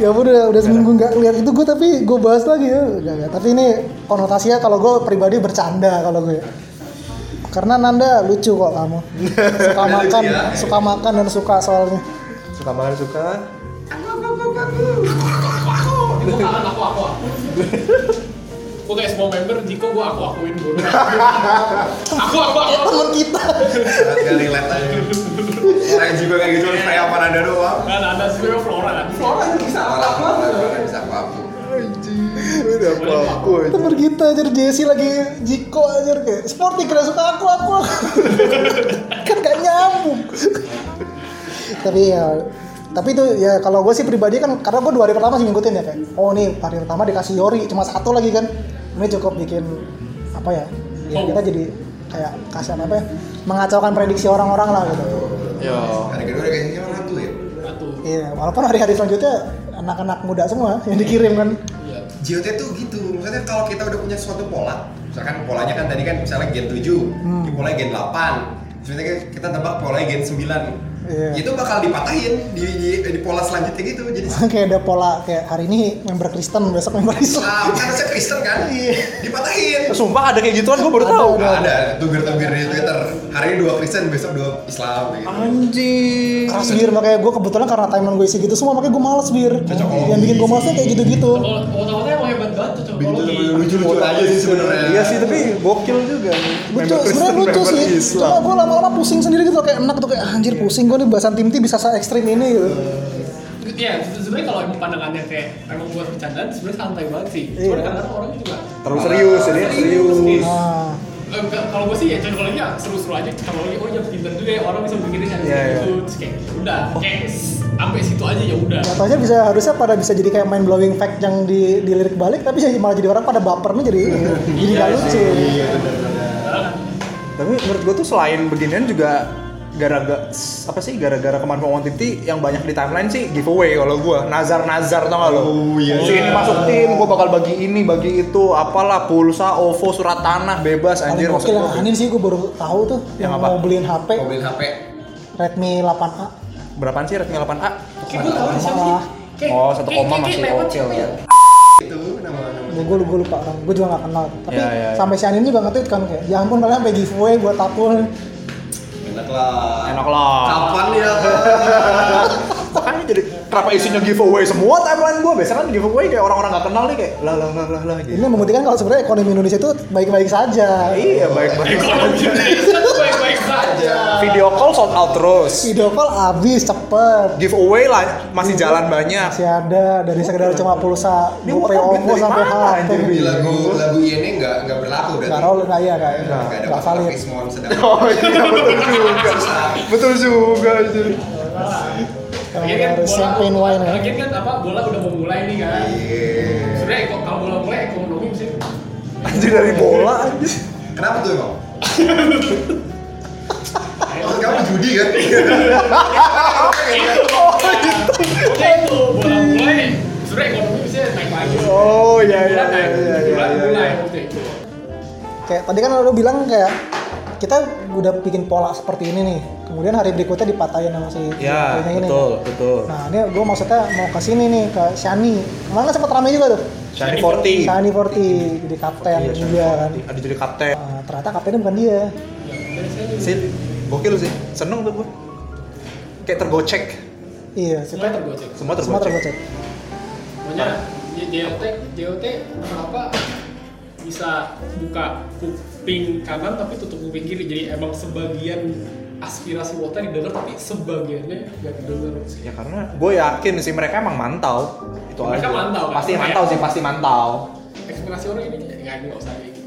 ya ampun, udah udah seminggu nggak lihat itu gue tapi gue bahas lagi ya Udah, udah. tapi ini konotasinya kalau gue pribadi bercanda kalau gue karena Nanda lucu kok kamu suka Nanda lucu makan ya. suka makan dan suka soalnya suka makan suka Gua kangen aku, aku, aku. Gua kayak semua member, Jiko gua aku akuin dulu. Aku, aku, aku, aku. teman kita Agak relate aja. Orang juga kayak gitu, kayak apa nada doang. Nah, nah, nah, sebenarnya Flora kan. Flora kan bisa Orang orang bisa apa aku. anjing, udah apa aku anjing. teman kita aja Jesse lagi Jiko aja kayak sporty kira suka aku aku aku." kan gak nyambung tapi ya tapi itu ya kalau gue sih pribadi kan karena gue dua hari pertama sih ngikutin ya kayak oh nih hari pertama dikasih Yori cuma satu lagi kan ini cukup bikin apa ya, ya kita jadi kayak kasihan apa ya mengacaukan prediksi orang-orang lah gitu ya Hari kedua udah kayaknya orang tuh ya. Satu. iya walaupun hari-hari selanjutnya anak-anak muda semua yang dikirim kan Iya. JOT tuh gitu, maksudnya kalau kita udah punya suatu pola misalkan polanya kan tadi kan misalnya gen 7 di pola gen 8 sebenarnya kita- kita tebak pola gen 9 Iya. itu bakal dipatahin di, di, di pola selanjutnya gitu jadi kayak ada pola kayak hari ini member Kristen besok member Islam ah, kan harusnya Kristen kan dipatahin Ya. sumpah ada kayak gituan gue baru tahu Nggak ada tubir-tubir di Twitter hari ini dua Kristen besok dua Islam gitu anjing keras bir makanya gue kebetulan karena timeline gue isi gitu semua makanya gue males bir yang bikin gue malesnya kayak gitu-gitu Kalau otak-otaknya emang hebat banget tuh, coba. Bikin tuh lucu-lucu aja sih sebenarnya Iya sih tapi gokil juga. lucu sebenarnya lucu sih cuma gue lama-lama pusing sendiri gitu loh, kayak enak tuh kayak anjir pusing gue nih bahasan tim T bisa se ekstrim ini gitu Iya, se- sebenarnya kalau emang pandangannya kayak emang buat bercandaan, sebenarnya santai banget sih. kan Iya. Cuman kadang-kadang orang juga Terlalu serius ini serius. nah Eh, enggak, kalau gue sih ya teknologinya seru-seru aja teknologi oh ya pinter juga ya orang bisa mikirin yang Iya, gitu terus kayak udah kayak s- sampai situ aja ya udah Jatuhnya bisa harusnya pada bisa jadi kayak main blowing fact yang di, dilirik balik tapi jadi malah jadi orang pada bapernya jadi Iya. Iya, jadi nggak lucu. Tapi menurut gue tuh selain beginian juga gara-gara s- apa sih gara-gara kemampuan Titi yang banyak di timeline sih giveaway kalau gua nazar-nazar tau gak lo Oh, iya. Si ini masuk tim gua bakal bagi ini bagi itu apalah pulsa OVO surat tanah bebas Paling anjir gokil yang gua. aneh sih gue baru tahu tuh Yang yang, apa? mau beliin HP Mau beliin HP Redmi 8A. berapaan sih Redmi 8A kayak gue tau siapa sih Kayak- Oh, satu kayak- koma masih kayak- ya. kayak lewat oke siapa lah. itu nama nama. Gue gue gue lupa orang, gue juga nggak kenal. Tapi Iya, iya, iya. sampai si Anin juga nge-tweet kan kayak, ya ampun kalian sampai giveaway buat tapul. Enak lah. enak lah Kapan ya? makanya jadi kenapa isinya giveaway semua timeline gua biasanya kan giveaway kayak orang-orang gak kenal nih kayak lah lah lah lah lah gitu Ini membuktikan kalau sebenarnya ekonomi Indonesia itu baik-baik saja. iya baik-baik ekonomi Indonesia tuh baik-baik saja video call sold out terus Video call habis cepet. giveaway lah masih jalan banyak Masih ada dari sekedar cuma pulsa Ini GoPay mau duit Ovo dari sampai mana, HP. anjir? Ini lagu lagu ini nggak nggak berlaku Gak berarti. roll kaya kayak Nggak ada gak masalah valid. Fismon sedang. oh iya betul juga betul juga anjir. Lagian Emang kan harus champagne wine ya. lagian kan apa bola udah mau mulai nih kan Iya. sebenarnya kok kalau bola mulai ekonomi sih anjir dari bola anjir Kenapa tuh emang? Maksud kamu judi kan? ya itu bola mulai sebenarnya ekonomi bisa naik lagi oh iya iya iya bulan iya naik iya, bulan iya mulai waktu itu Kayak tadi kan lo bilang kayak kita udah bikin pola seperti ini nih. Kemudian hari berikutnya dipatahin sama si ya kayaknya ini. betul betul Nah, ini gue maksudnya mau ke sini nih ke Shani. Kemarin sempat ramai juga tuh. Shani 40 Shani Forti jadi kapten Iya, Shani juga kan. 40. ada jadi kapten Nah, ternyata kaptennya bukan dia. sih gokil sih seneng tuh gua kayak tergocek Iya, semuanya tergocek semua semua tergocek tergocek. Pokoknya J- JOT, JOT kenapa bisa buka kuping kanan tapi tutup kuping kiri jadi emang sebagian aspirasi Wota didengar tapi sebagiannya nggak didengar ya karena gue yakin sih mereka emang mantau itu Mereka aja mantau, kan? pasti mantau sih pasti mantau ekspektasi orang ini nggak nggak usah kayak gitu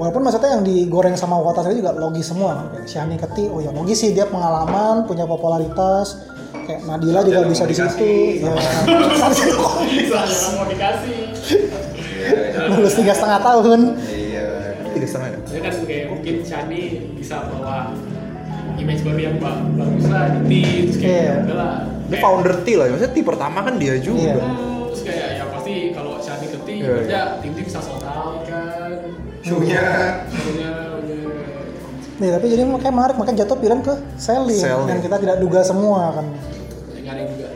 Walaupun maksudnya yang digoreng sama Wata tadi juga logis semua. kan. Kayak Shani Keti, oh ya logis sih dia pengalaman, punya popularitas. Kayak Nadila juga Jalan bisa di komunikasi. situ. Ya, bisa jangan mau dikasih Iya. lulus tiga setengah tahun. Iya. tiga setengah ya ya kan kayak mungkin Shani bisa bawa image baru yang ba- bagus lah di tim terus kayak Iya. ya udah lah dia Kayak- founder T lah maksudnya T pertama kan dia juga Iya. Hmm, terus kayak ya pasti kalau Shani keti Iya, kerja tim-tim bisa sold out kan Show-nya Punya, Nih, tapi jadi makanya menarik, makanya jatuh pilihan ke selling. Selling. Dan kita tidak duga semua kan. Iya. punya ada juga.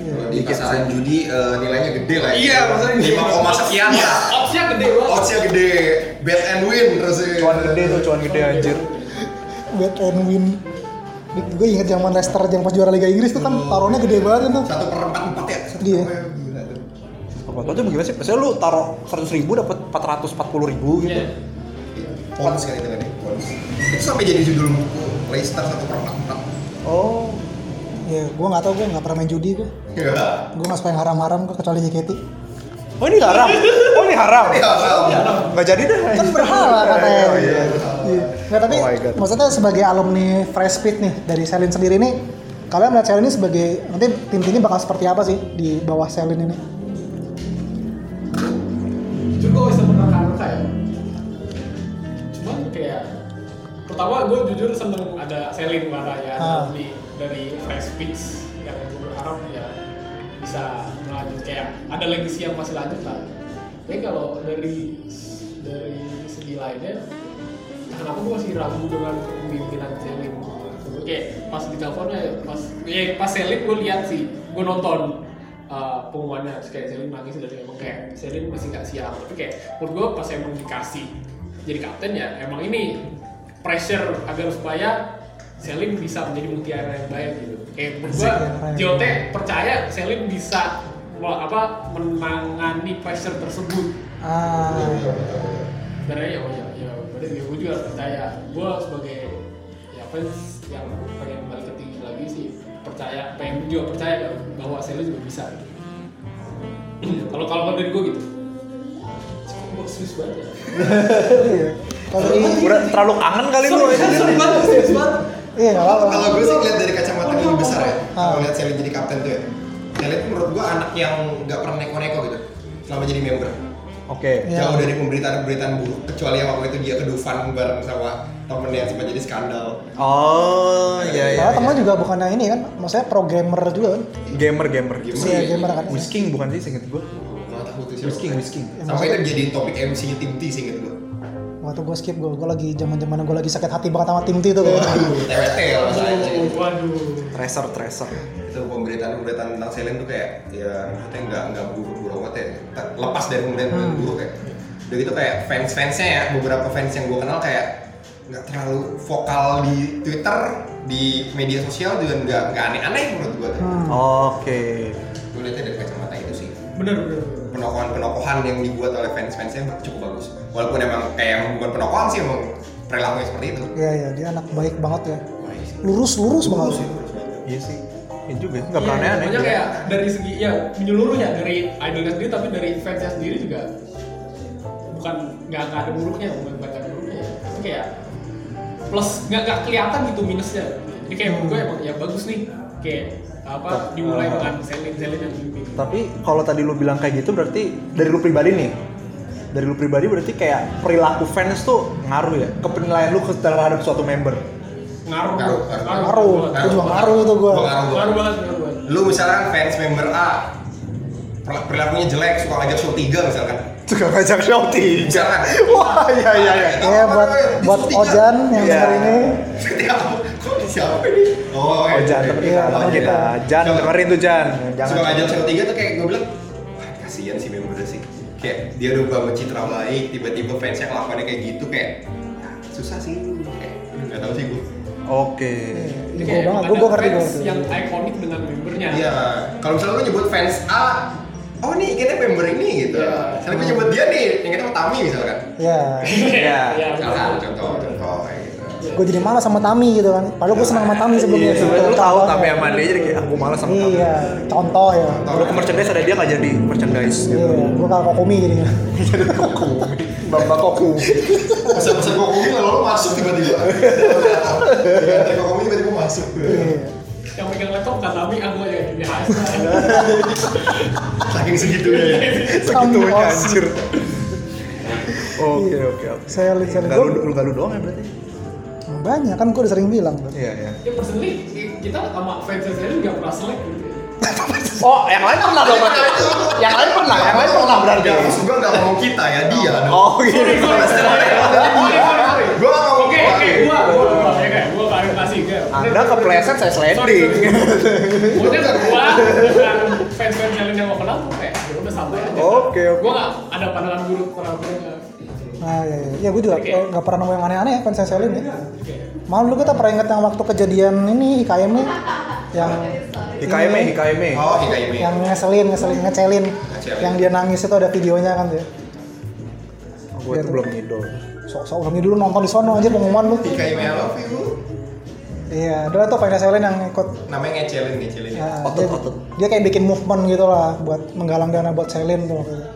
kalau di pasaran judi eh, nilainya gede lah. Iya, maksudnya gede. lima koma sekian lah. Opsinya gede banget. Oddsnya gede, bet and win terus. ya. cuan gede tuh cuan gede anjir Bet and win. Gue inget zaman Leicester yang pas juara Liga Inggris tuh kan Hmm. taruhnya gede banget tuh. Satu per empat empat ya. Satu Iya. per- gila tuh. Bapak tuh gimana sih? Maksudnya lu taruh 100 ribu dapat 440 ribu gitu Iya. Pounds kan itu kan ya, pounds. Itu sampai jadi judul buku Leicester satu per empat empat. Oh Ya, gue nggak tahu gue nggak pernah main judi gue. Iya. Gue nggak suka yang haram-haram gue kecuali JKT. Oh ini haram? Oh ini haram? Iya, Gak jadi deh kan berhala katanya. Oh, iya. Iya. Nggak, tapi Oh my God. maksudnya sebagai alumni Fresh Fit nih dari Selin sendiri nih, kalian melihat Selin ini sebagai nanti tim ini bakal seperti apa sih di bawah Selin ini? Jujur gue bisa menerka-nerka ya. Cuman kayak pertama gue jujur seneng ada selling mana ya ada Ah. beli dari Fresh Pitch yang gue berharap ya bisa melanjut kayak ada legacy yang masih lanjut lah. Tapi kalau dari dari segi lainnya kenapa gue masih ragu dengan kepemimpinan Selin gue kayak pas di teleponnya pas ya pas Selin gue lihat sih gue nonton uh, pengumumannya terus kayak Selin nangis dan emang kayak Selin masih nggak siap tapi kayak menurut gue pas emang dikasih jadi kapten ya emang ini pressure agar supaya Selin bisa menjadi mutiara yang baik gitu kayak menurut gue Mutiara yang JOT percaya Selin bisa wah, apa menangani pressure tersebut Ah, karena ya oh ya ya berarti gue juga harus percaya gue sebagai ya fans yang pengen balik ke tinggi lagi sih percaya pengen juga percaya bahwa Selo juga bisa gitu. kalau kalau dari gue gitu Cuma gue serius banget ya iya. Kalau dari Udah terlalu kangen kali lu. Sorry banget, serius banget. iya nggak apa-apa. Kalau gue sih ngeliat dari kacamata yang lebih besar ya. Ah. Kalau lihat Selin jadi kapten tuh ya. Selin tuh menurut gue anak yang nggak pernah neko-neko gitu. Selama jadi member. Oke. Iya. Jauh dari pemberitaan-pemberitaan buruk. Kecuali yang waktu itu dia ke Dufan bareng sama temennya yang sempat jadi skandal. Oh, iya iya. Karena teman iya. juga bukannya ini kan, maksudnya programmer juga kan. Gamer gamer. Gamer. Si gamer kan. Whisking bukan sih singkat gua. Gue tahu tuh siapa. Whisking, whisking. Sampai itu jadi topik MC tim T sih gitu. Waktu gue skip gue, gue lagi zaman zaman gue lagi sakit hati banget sama tim T itu. Iya. gua. Aduh, TWT ya Iya, masalahnya. sih. Waduh. Tracer, tracer. itu pemberitaan-pemberitaan tentang Selin tuh kayak ya maksudnya nggak nggak buruk-buruk amat ya Te- lepas dari Hmm. pemberitaan buruk ya udah gitu kayak fans-fansnya ya beberapa fans yang gue kenal kayak nggak terlalu vokal di Twitter di media sosial juga nggak nggak aneh-aneh menurut gue tuh Hmm. Oke. gue lihatnya dari kacamata itu sih Bener bener. bener. penokohan-penokohan yang dibuat oleh fans-fansnya cukup bagus walaupun emang kayak bukan penokohan sih emang perilakunya seperti itu Iya iya, dia anak baik banget ya. Wah, iya sih. Lurus lurus banget. sih, lurus banget. Iya sih. Iya juga, nggak Iya, pernah aneh. Pokoknya kayak dari segi ya menyeluruh ya dari idolnya sendiri tapi dari fansnya sendiri juga bukan nggak nggak ada buruknya bukan nggak ada buruknya ya. tapi kayak plus nggak nggak kelihatan gitu minusnya jadi kayak menurut gue emang ya bagus nih kayak apa dimulai Ah. dengan selin selin yang lebih Tapi kalau tadi lu bilang kayak gitu berarti dari lu pribadi nih. Dari lu pribadi berarti kayak perilaku fans tuh ngaruh ya ke penilaian lu ke- terhadap suatu member. ngaruh Ngaruh, bro. ngaruh. Ngaruh, banget. itu juga ngaruh tuh gue. Pengaruh gua. ngaruh banget ngaruh banget lu misalkan fans member A per- perilakunya jelek suka ngajak show 3 misalkan Suka ngajak shouting. misalkan Wah, iya iya iya. Iya buat buat Ojan yang Iya. hari ini. kok siapa ini oh Oh, Jan, temen Iya, kita, temen temen kita. kita. Jan, Coba. dengerin tuh Jan. Jangan. suka ngajak show 3 tuh kayak gue bilang wah kasihan sih member sih kayak dia udah bangun citra baik tiba-tiba fansnya kelakuannya kayak gitu kayak ya, susah sih lu kayak aduh, nggak tahu sih gue Oke. Iya. Jadi Gue kayak banget, emang gue gue Iya, ada ngerti gue. fans yang ikonik dengan membernya Iya, kalau misalnya lu nyebut fans A, oh nih kayaknya member ini gitu. Iya. Misalnya gue nyebut dia nih, yang kita Tami misalkan. Iya. Iya. Iya, Misalkan, betul. contoh, contoh kayak gitu. Gue jadi malas sama Tami gitu kan. Padahal gue senang sama Tami sebelumnya. Iya, sebenarnya lu tahu tapi Contohnya. sama dia jadi kayak aku malas sama kamu. Iya, contoh ya. Kalau ke merchandise ada dia nggak jadi merchandise. Iya, gue kalah kokumi jadinya. Bapak koku. Pesan-pesan kok komi lalu lu masuk tiba-tiba. Dari kok komi tiba-tiba masuk. Iya. yang megang laptop kan tapi aku aja yang biasa Saking segitunya ya. Segitunya Sama. anjir. Oke oke oke. Saya lihat saya Nggak lu lihat. nggak lu doang ya berarti? Banyak kan gue udah sering bilang. Iya iya. ya personally kita sama fans sendiri nggak pernah selek gitu ya. Oh, yang lain pernah dong berarti. Yang lain pernah, yang lain pernah berarti. Gak, maksud gue gak ngomong kita ya, dia dong. Oh, sorry gitu. sorry sorry sorry sorry sorry Gue gak ngomong Oh, oke oke iya, gua gua gua ya kan gua klarifikasi ya Anda kepleset saya Sorry, sliding. Maksudnya gua dengan fans-fans yang yang gua kenal tuh kayak ya udah santai aja Oke, oke. gua nggak ada pandangan buruk terhadap mereka Nah, iya, iya. Iya, gue juga Oke. eh, nggak pernah nemu yang aneh-aneh ya, fans Selin ya. Oke. Malah dulu kita pernah inget yang waktu kejadian ini, IKM -nya, yang Hikayme, ini, hikayme. Oh, Hikayumi. yang ngeselin, ngeselin, ngecelin, Ngecelin. yang dia nangis itu ada videonya kan ya. Oh, gue tuh belum ngidol. Sok-sok udah dulu nonton di sono anjir pengumuman lu. Hikayumi I love you. Iya, dulu tuh fans Selin yang ikut Namanya ngecelin, ngecelin. ya. Nah, Otot, dia, otot. dia kayak bikin movement gitu lah buat menggalang dana buat Selin tuh waktu itu.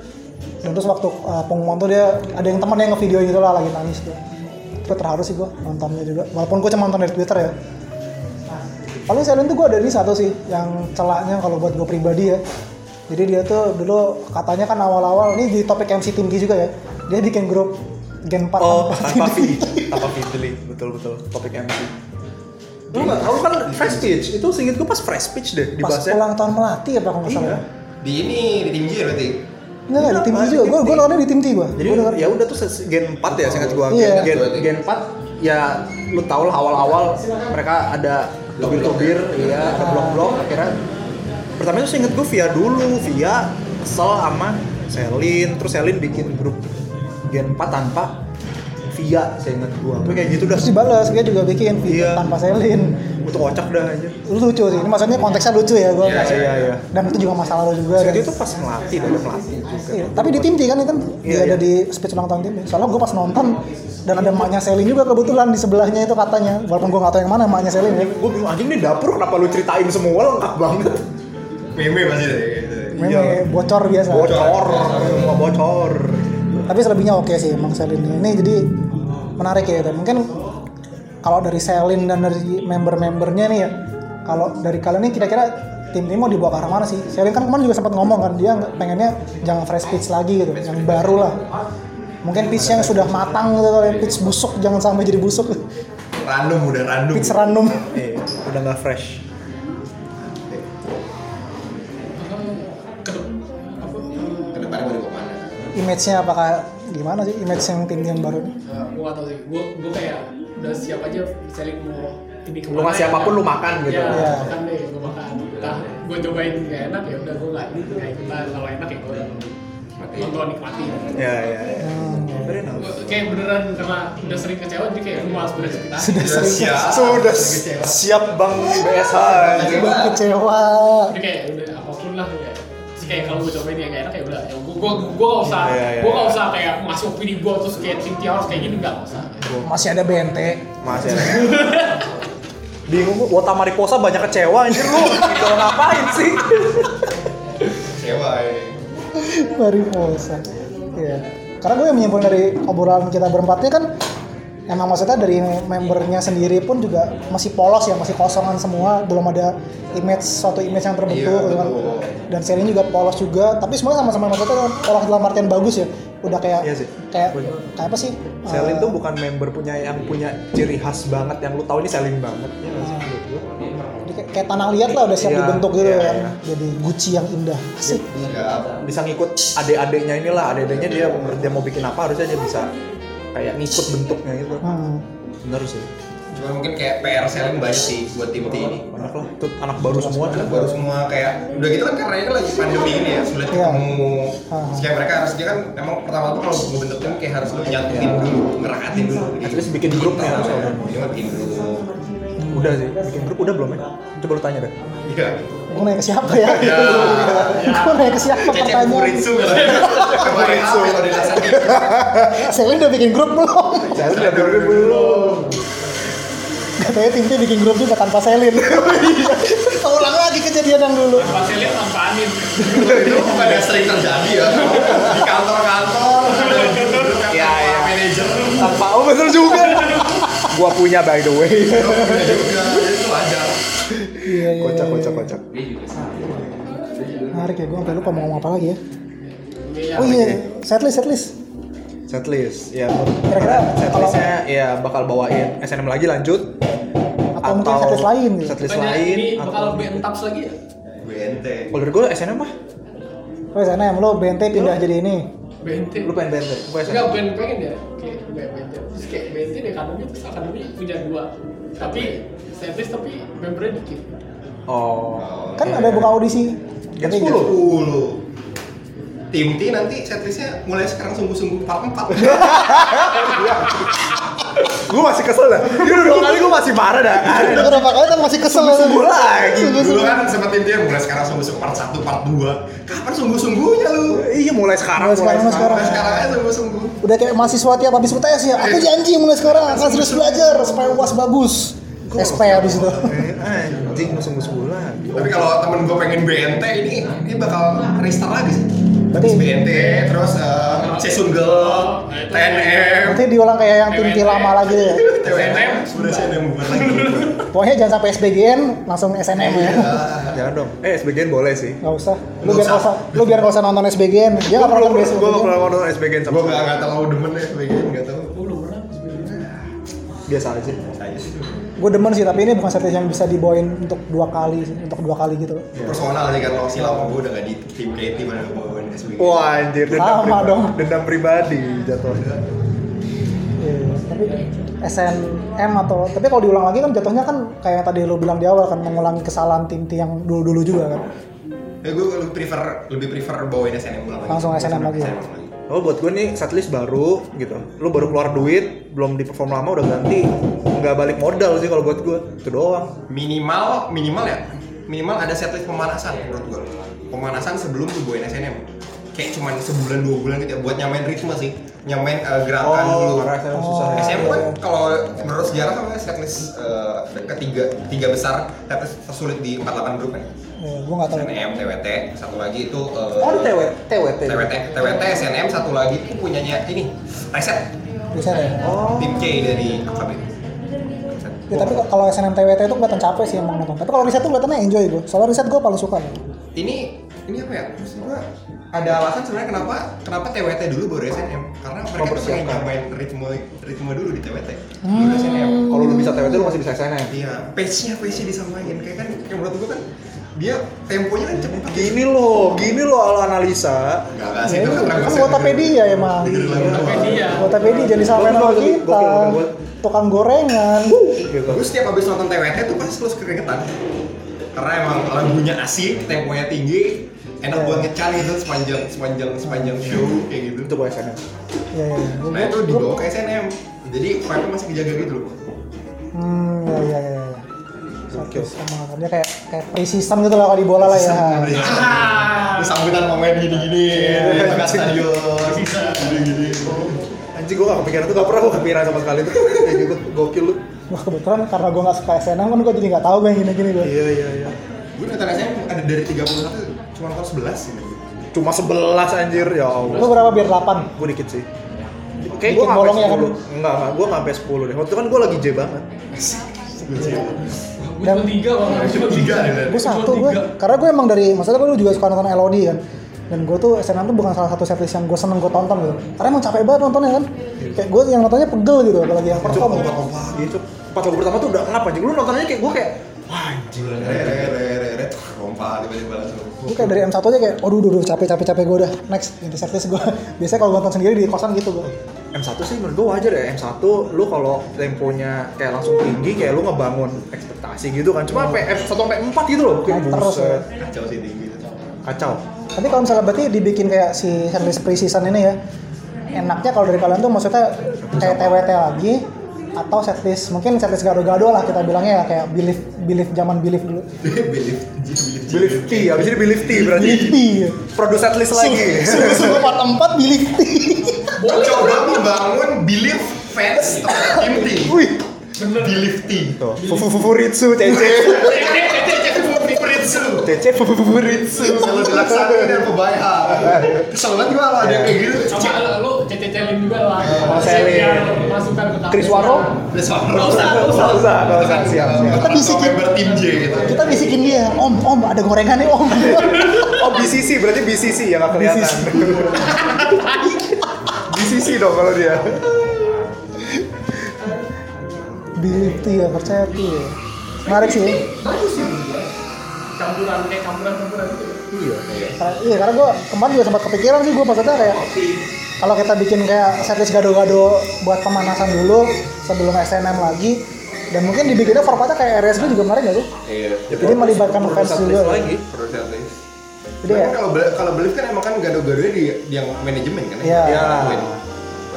Dan terus waktu uh, pengumuman tuh dia ada yang teman yang ngevideo gitu lah lagi nangis tuh. Gue terharu sih gue nontonnya juga. Walaupun gue cuma nonton dari Twitter ya. Paling Selin tuh gue ada di satu sih yang celaknya kalau buat gue pribadi ya. Jadi dia tuh dulu katanya kan awal-awal ini di topik MC Timki juga ya. Dia bikin grup Gen 4 Oh, tanpa video. fee, tanpa fee beli, betul betul. Topik MC. Lu nggak, kamu kan fresh speech, itu singkat gue pas fresh speech deh Pas dibahasnya. ulang tahun Melati apa kalau nggak salah. Iya. ya? Di ini, di tim J berarti. Enggak, enggak, di tim Kenapa? juga. Di Gue tim gue T. nontonnya di tim T gue. Jadi ya udah tuh se- gen 4 ya singkat gue. Iya. Gen, gen 4 ya lu tau lah awal-awal mereka ada tubir-tubir, iya, ke blok-blok akhirnya pertama itu seinget gue Via dulu, Via kesel sama Selin, terus Selin bikin grup Gen 4 tanpa Via seinget gue. Tapi kayak gitu dah. terus dibales dia juga bikin Iya. video tanpa selin Untuk kocak dah aja. Lu lucu sih ini maksudnya konteksnya lucu ya gue Iya, Iya, iya. dan itu juga masalah lu juga Jadi dan- itu pas ngelatih, udah ada pelatih juga. Iya, tapi di tim T kan itu Iya, dia iya. ada di speech ulang tahun tim T. soalnya gue pas nonton dan ada emaknya Selin juga kebetulan di sebelahnya itu katanya walaupun gue nggak tahu yang mana emaknya Selin ya Gue bingung anjing nih dapur kenapa lu ceritain semua lengkap banget. Meme pasti deh. kayak gitu. Meme Iya. bocor biasa Bocor, semua bocor. tapi selebihnya oke sih emang Selin ini jadi menarik ya itu. Mungkin kalau dari Selin dan dari member-membernya nih ya, kalau dari kalian nih kira-kira tim ini mau dibawa ke arah mana sih? Selin kan kemarin juga sempat ngomong kan dia nggak- pengennya jangan fresh pitch lagi gitu, yang baru lah. Mungkin pitch yang sudah matang gitu, kalau yang pitch busuk jangan sampai jadi busuk. Random udah random. Pitch random. Iya, udah nggak fresh. Kan ke apa Kedepannya mau dibawa kemana? Image-nya apakah gimana sih image yang tim yang baru ini? eh, gua gak tau sih gua gua kayak udah siap aja selling mau ini Lu ngasih apapun, lu makan gitu. ya, Iya. makan deh gua makan entah gua cobain gak enak ya udah gua nggak nggak ikutan kalau enak ya gua nonton nikmati Ya, ya, ya. Hmm. Very nice. Gua kayak beneran karena udah sering kecewa jadi kayak gua harus berespektasi Sudah Iya, siap. Sudah siap bang BSH. Lagi Gua banget. kecewa. jadi kayak udah apapun lah kayak terus kayak kalau gue cobain yang gak enak ya udah ya gue gue gue gak usah Iya, iya, gue gak iya. usah kayak masuk opini gue terus kayak tim Tia harus kayak gini gak usah Masih ada BNT. Masih ada. Bingung gua, Wota Mariposa banyak kecewa anjir lu. Itu ngapain sih? Kecewa ya. Mariposa. Iya. Karena gue yang menyimpulkan dari obrolan kita berempatnya kan emang maksudnya dari membernya sendiri pun juga masih polos ya, masih kosongan semua, belum ada image suatu image yang terbentuk Iya, gitu kan. betul. Dan sharing juga polos juga, tapi semuanya sama-sama maksudnya polos dalam artian bagus ya. Udah kayak Iya sih. kayak kayak apa sih? Selin Eh, tuh bukan member punya yang punya ciri khas banget yang lu tahu ini Selin banget. Ya, nggak sih? Menurut gua. Eh, jadi kayak, kayak tanah liat lah udah siap Iya, dibentuk gitu iya, kan. iya. Jadi guci yang indah. Asik. Siap. bisa ngikut adik-adiknya inilah, adik-adiknya dia dia mau bikin apa harusnya dia bisa kayak ngikut bentuknya gitu. Hmm. Bener sih. Cuman mungkin kayak PR selling banyak sih buat tim T ini. Banyak lah. Tuh anak baru semua. Anak baru semua kayak udah gitu kan karena ini lagi pandemi ini ya sulit Iya. ketemu Ah. Terus kayak mereka harusnya kan emang pertama tuh kalau mau bentuk tim kayak harus lu nyatuin dulu ngerakatin dulu Iya. At least bikin ya, grupnya harus ada. ini mah tim dulu Udah sih. Bikin grup udah belum ya? Coba lu tanya deh. iya Gue nanya ke siapa ya? Iya. Ya. Gue nanya ke siapa Cecep pertanyaan? Murinsu kemarin apa kalau di dasar gitu Selin udah bikin grup belum? Selin udah bikin grup belum? Katanya tim T bikin grup juga tanpa selin. Ulang lagi kejadian yang dulu. tanpa selin tanpa anin itu bukan yang sering terjadi ya di kantor-kantor Iya, ya ya manajer Tanpa oh bener juga. Gua punya by the way. juga itu wajar Iya, iya. Kocak kocak kocak. Menarik ya, gue sampai lupa mau ngomong apa lagi ya. iya Oh iya, setlist, setlist. Setlist ya. Kira-kira Setlistnya ya bakal bawain SNM lagi lanjut. Atau mungkin setlist lain gitu. Setlist Bukannya lain. ini bakal atau- bentaps lagi ya gue ente Kalau dari gue SNM mah. Lo SNM, lo BNT pindah jadi ini. bente Lu pengen band Gue SNM. enggak ben pengen ya kayak kayak bente terus kayak ya, bente di akademi terus akademi punya dua tapi setis tapi membernya dikit Oh. Kan ada buka audisi. Gen Nanti 10 10. Tim T nanti setlistnya mulai sekarang sungguh-sungguh part 4 Gue masih kesel dah. Ini udah dua kali gue masih marah dah. Udah berapa kali tapi masih kesel. Iya, Sungguh-sungguh Dulu lagi. Sungguh-sungguh. kan sempat tim T mulai sekarang sungguh-sungguh part 1, part 2 Kapan sungguh-sungguhnya lu? Iya mulai sekarang. Mulai sekarang, mulai Mulai sekarang aja sungguh-sungguh Udah kayak mahasiswa tiap habis UTS ya. Aku janji mulai sekarang akan serius belajar supaya UAS bagus. SP habis itu. Eh, Anjing lu sungguh-sungguh lagi. Tapi kalau temen gue pengen BNT ini, ini bakal restart lagi sih Berarti- Habis BNT, terus uh, Sesungguel, TNM Nanti diulang kayak yang tim T lama lagi ya. TWNM, sudah sih ada yang bukan lagi Pokoknya jangan sampai SBGN, langsung SNM ya. Jangan dong. Eh SBGN boleh sih. Gak usah. Lu Nggak biar usah. nggak usah, lu biar nggak usah nonton SBGN. Dia Ya, nggak pernah Gue nonton gak pernah SBGN. nonton SBGN sama Gue gak, gak terlalu demen ya, begini gak tau gue belum pernah sebenarnya biasa aja. Saya sih Gue demen sih, tapi ini bukan setlist yang bisa dibawain untuk dua kali, sih, untuk dua kali gitu. Personal sih kan, kalau si lama gue udah gak di tim KT mana gue bawain SBG Wah anjir dendam Sama pribadi. dong. Dendam pribadi jatuhnya. Iya, tapi SNM atau tapi kalau diulang lagi kan jatuhnya kan kayak yang tadi lu bilang di awal kan mengulangi kesalahan tim tim yang dulu-dulu juga kan. Ya gue lebih prefer lebih prefer bawain SNM ulang lagi. Langsung SNM lagi. Oh buat gue nih setlist baru gitu. Lu baru keluar duit, belum di perform lama udah ganti. Nggak balik modal sih kalau buat gue. Itu doang. Minimal minimal ya. Minimal ada setlist pemanasan menurut gue. Pemanasan sebelum lu bawain SNM. Kayak cuman sebulan dua bulan gitu ya buat nyamain ritme sih. Nyamain eh, Oh, gerakan dulu. karena SNM susah. ya. SNM kan kalau menurut sejarah kan setlist eh, ketiga tiga besar setlist tersulit di 48 grup kan. Iya, gue nggak tahu. SNM, TWT, satu lagi itu eh, Oh ada TWT. TWT. TWT, TWT, SNM satu lagi itu punyanya ini reset biasanya ya. Oh. tim C dari AKB Ya, tapi kalau SNMTWT itu kelihatan capek sih emang nonton. Tapi kalau riset tuh kelihatannya enjoy gue. Soalnya riset gue paling suka. ini ini apa ya maksud gua ada alasan sebenarnya kenapa kenapa TWT dulu baru SNM karena mereka tuh pengen Mempersiapkan. nyamain ritme ritme dulu di TWT baru SNM Kalau lu bisa TWT lu masih bisa SNM. iya pace-nya pace-nya disamain kayak kan yang menurut gua kan dia temponya kan cepet Gini loh, gini loh lo analisa. Enggak, enggak sih Ya, itu kan lagu kan sendiri. Wotapedia emang. Dengerin lagu apa. Wikipedia. Wotapedia Iya. jadi sampai Gokil, sama gokil, kita. gokil, gokil. eh, Tukang gorengan. Iya, Gitu. Gue setiap habis nonton TWT tuh pas terus keringetan Karena emang lagunya asik, temponya tinggi Enak buat ngecan gitu sepanjang sepanjang sepanjang show kayak gitu Itu gua SNM. Iya iya. Gua- Nah itu gua- dibawa ke SNM Jadi vibe masih dijaga gitu loh Hmm, ya ya ya. ya. Satu sama makanya kayak kayak pre-season gitu lah kalau di bola lah ya. iya. gitu. Ah. Terus sambutan pemain gini-gini Di tengah stadion Gini-gini Anjing gua gak kepikiran tuh gak pernah gua kepikiran sama sekali tuh. Kayak gitu, gokil lu. Wah kebetulan karena gue nggak suka SNM kan gue jadi nggak tahu gue yang gini-gini gue. Iya iya iya. Gue nonton SNM ada dari 31 cuma nonton 11 ini Cuma 11 anjir ya Allah. Lu berapa biar 8? Gua dikit sih. Dikit nggak bolongnya sampai kan? 10. Enggak, enggak, gua gak sampai 10 deh. Waktu itu kan gua lagi J banget. Gue cuma tiga bang, gue cuma tiga. Tiga deh Len. Gue satu Gua gue. tiga. Karena gue emang dari maksudnya gue juga suka nonton LOD kan. Dan gue tuh SNM tuh bukan salah satu setlist yang gue seneng gue tonton gitu. Karena emang capek banget nontonnya kan. Kayak gue yang nontonnya pegel gitu apalagi yang perform. Coba Iya, Cuk. Pas lagu pertama tuh udah kenapa anjing? Lu nontonnya kayak gua kayak wah anjing. Re re re re re tuh, Rompa tiba-tiba langsung Gue kayak dari M1 aja kayak, waduh, duh, duh, capek, capek, capek gue udah next ganti setlist gue. Biasanya kalau gue nonton sendiri di kosan gitu gue. M1 sih menurut gua wajar ya M1 lu kalau temponya kayak langsung tinggi kayak lu ngebangun ekspektasi gitu kan cuma sampai F1 sampai 4 gitu loh kayak Naik terus buset. ya. Kacau sih tinggi kacau Tapi kalau misalnya berarti dibikin kayak si setlist pre-season ini ya, enaknya kalau dari kalian tuh maksudnya kayak TWT lagi atau setlist mungkin setlist gado-gado lah kita bilangnya ya kayak belief belief zaman belief dulu. Belief believe T abis ini believe T berarti Belief T. ya. produser list lagi Subuh subuh part empat belief T. Coba membangun belief fans terhadap tim T. wih Belief T. tuh fufu fufuritsu cece Eh, Favoritsu. cece fufu fufuritsu Selalu dilaksanakan dan pebaya. Kesel banget gua kalau ada yang kayak gitu. Sama eh, lu- lu cecetelin juga lah. Oh, Mas Elin. Biar Masukan ke Chris Waro? Terus apa? Nggak usah, nggak usah. Nggak usah, nggak usah. Siap, siap. Kita bisikin member tim J gitu. Kita bisikin dia, om om ada gorengan nih om. oh BCC berarti BCC ya nggak kelihatan BCC dong kalau dia belief T ya percaya T. ya. Menarik sih. Campuran kayak campuran-campuran gitu. Karena- Iya karena gue kemarin juga sempat kepikiran sih gue maksudnya kayak kalau kita bikin kayak setlist gado-gado buat pemanasan dulu sebelum SNM lagi dan mungkin dibikinnya formatnya kayak RSB juga menarik gak sih? Iya. Jadi melibatkan fans juga. lagi Jadi ya, kalau bel- kalau belief kan emang kan gado-gadonya di di yang manajemen kan Iya. Yang nentuin,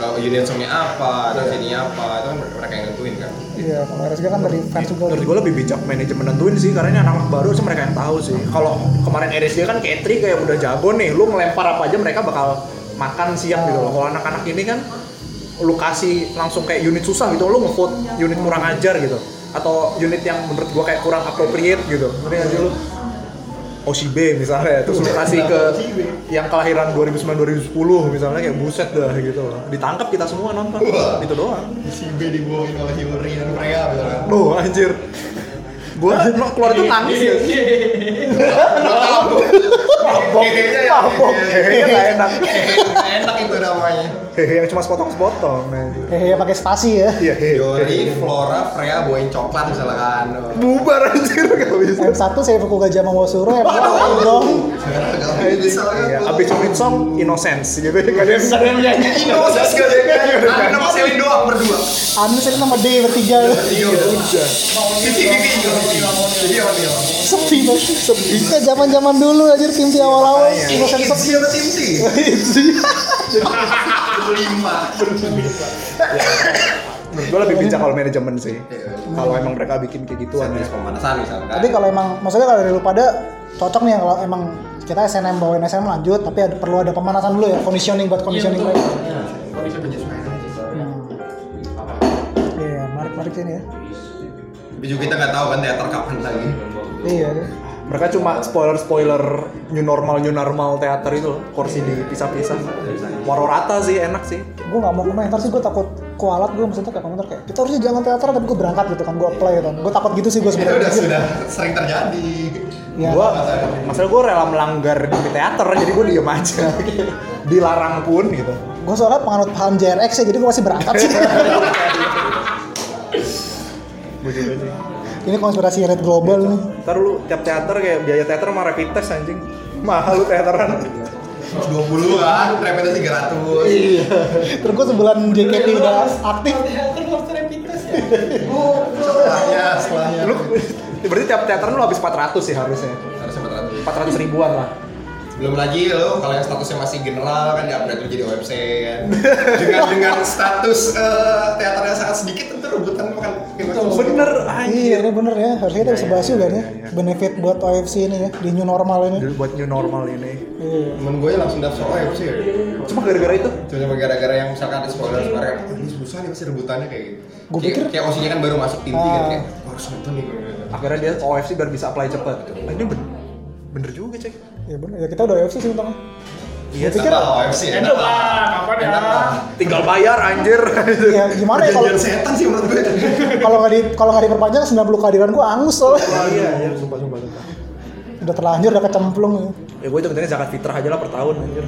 uh, Union songnya apa, terus ini apa, itu kan mereka yang nentuin kan. iya kalau RSB kan dari fans juga. Menurut gue lebih bijak manajemen nentuin sih karena ini anak-anak baru sih mereka yang tahu sih. Kalau kemarin RSJ kan kayak Tri kayak udah jago nih, lu melempar apa aja mereka bakal makan siang gitu loh. Kalau anak-anak ini kan lu kasih langsung kayak unit susah gitu, lu ngevote unit kurang ajar gitu atau unit yang menurut gua kayak kurang appropriate gitu. Ngerti nggak sih lu? OCB misalnya, terus lu kasih ke yang kelahiran 2009 2010 misalnya kayak buset dah gitu loh. Ditangkap kita semua nonton. Wah. Itu doang. Si B dibuangin oleh Yuri dan kan? Freya misalnya. Duh anjir Gua no, keluar itu Iya, nangis ya Iya, Mabok Kayaknya ya. Mabok Kayaknya gak enak Enak itu namanya. Hehe yang cuma sepotong-sepotong anjir. Hehehe pakai spasi ya. Iya hehe Yori, Flora, Freya bawain coklat misalnya kan. Bubar anjir gak bisa M1 saya Fuku Gajah ya. Mawasuro, M2 Aidong. Iya, abis unit song innocence gitu Gak ada yang gak ada yang nyanyi Innocence gak ada yang nyanyi. Nama Selin doang berdua. Anu saya nama D bertiga. Iya, udah. Vivi, Vivi, Vivi. Jadi apa dia? Sepi banget. Sepi. Kayak zaman-zaman dulu aja tim tim awal-awal. Innocent Vivi, sepi. udah tim C. Lima. Menurut gua lebih bijak kalau manajemen sih Kalau emang mereka bikin kayak gituan ya Setlist pemanasan misalkan. Tapi kalau emang maksudnya kalau dari lu pada cocok nih ya, kalau emang kita SNM bawain SNM lanjut tapi ada, perlu ada pemanasan dulu ya conditioning buat conditioning Iya, mereka. betul. Iya, Kondisi penyesuaian. Hmm. Iya, menarik menarik sih ini ya. Tapi juga kita nggak tahu kan teater kapan lagi. Iya. Mereka cuma spoiler-spoiler new normal new normal teater itu loh, kursi dipisah-pisah. Waro rata sih enak sih. Gue nggak mau komentar sih, gue takut kualat gue maksudnya kayak komentar kayak kita harusnya jangan teater tapi gue berangkat gitu kan gue apply gitu kan gue takut gitu sih gue Itu sebenarnya udah sudah sering terjadi. Ya. Gua masalah gue rela melanggar di teater jadi gue diem aja. gitu. Dilarang pun gitu. gue soalnya penganut paham JRX ya jadi gue masih berangkat sih ini konspirasi red global nih Ntar lu tiap teater kayak biaya teater sama rapid test anjing. Mahal lu teateran. Dua puluhan, repetnya tiga ratus. terus gue sebulan JKT udah Iya. aktif Kan harus rapid test ya. Setelahnya, setelahnya. lu berarti tiap teater lu habis 400 sih harusnya. harus sempat 400 ribuan lah. belum lagi lo kalau yang statusnya masih general kan diupgrade dulu jadi OMC kan dengan dengan status eh, teaternya sangat sedikit tentu rebutan makan Bener anjir. iya ini bener ya harusnya kita Iya, bisa bahas iya, juga iya, nih iya. benefit buat OFC ini ya di new normal ini Dulu buat new normal ini. iya temen gue langsung daftar OMC ya Cuma gara-gara itu cuma gara-gara yang misalkan ada spoiler kemarin "Ah, ini susah nih pasti rebutannya kayak gitu Gua Kayak- pikir- kayak OC nya kan baru masuk tim tiga kan Ah. kayak "Gua harus nonton nih gue akhirnya dia OFC biar bisa apply cepet. Ah, Ini bener, bener juga cek. ya bener ya kita udah OFC sih untungnya Iya. Pikir- Tambah OMC ya Enak lah, kapan ya? enak lah Tinggal bayar anjir. ya Iya, gimana ya kalau perjanjian setan sih menurut gue kalau nggak di kalau nggak diperpanjang 90 kehadiran gue angus soalnya Iya, iya, sumpah, sumpah, sumpah. udah terlanjur udah kecemplung ya. Ya gue hitung-hitungnya zakat fitrah aja lah per tahun anjir.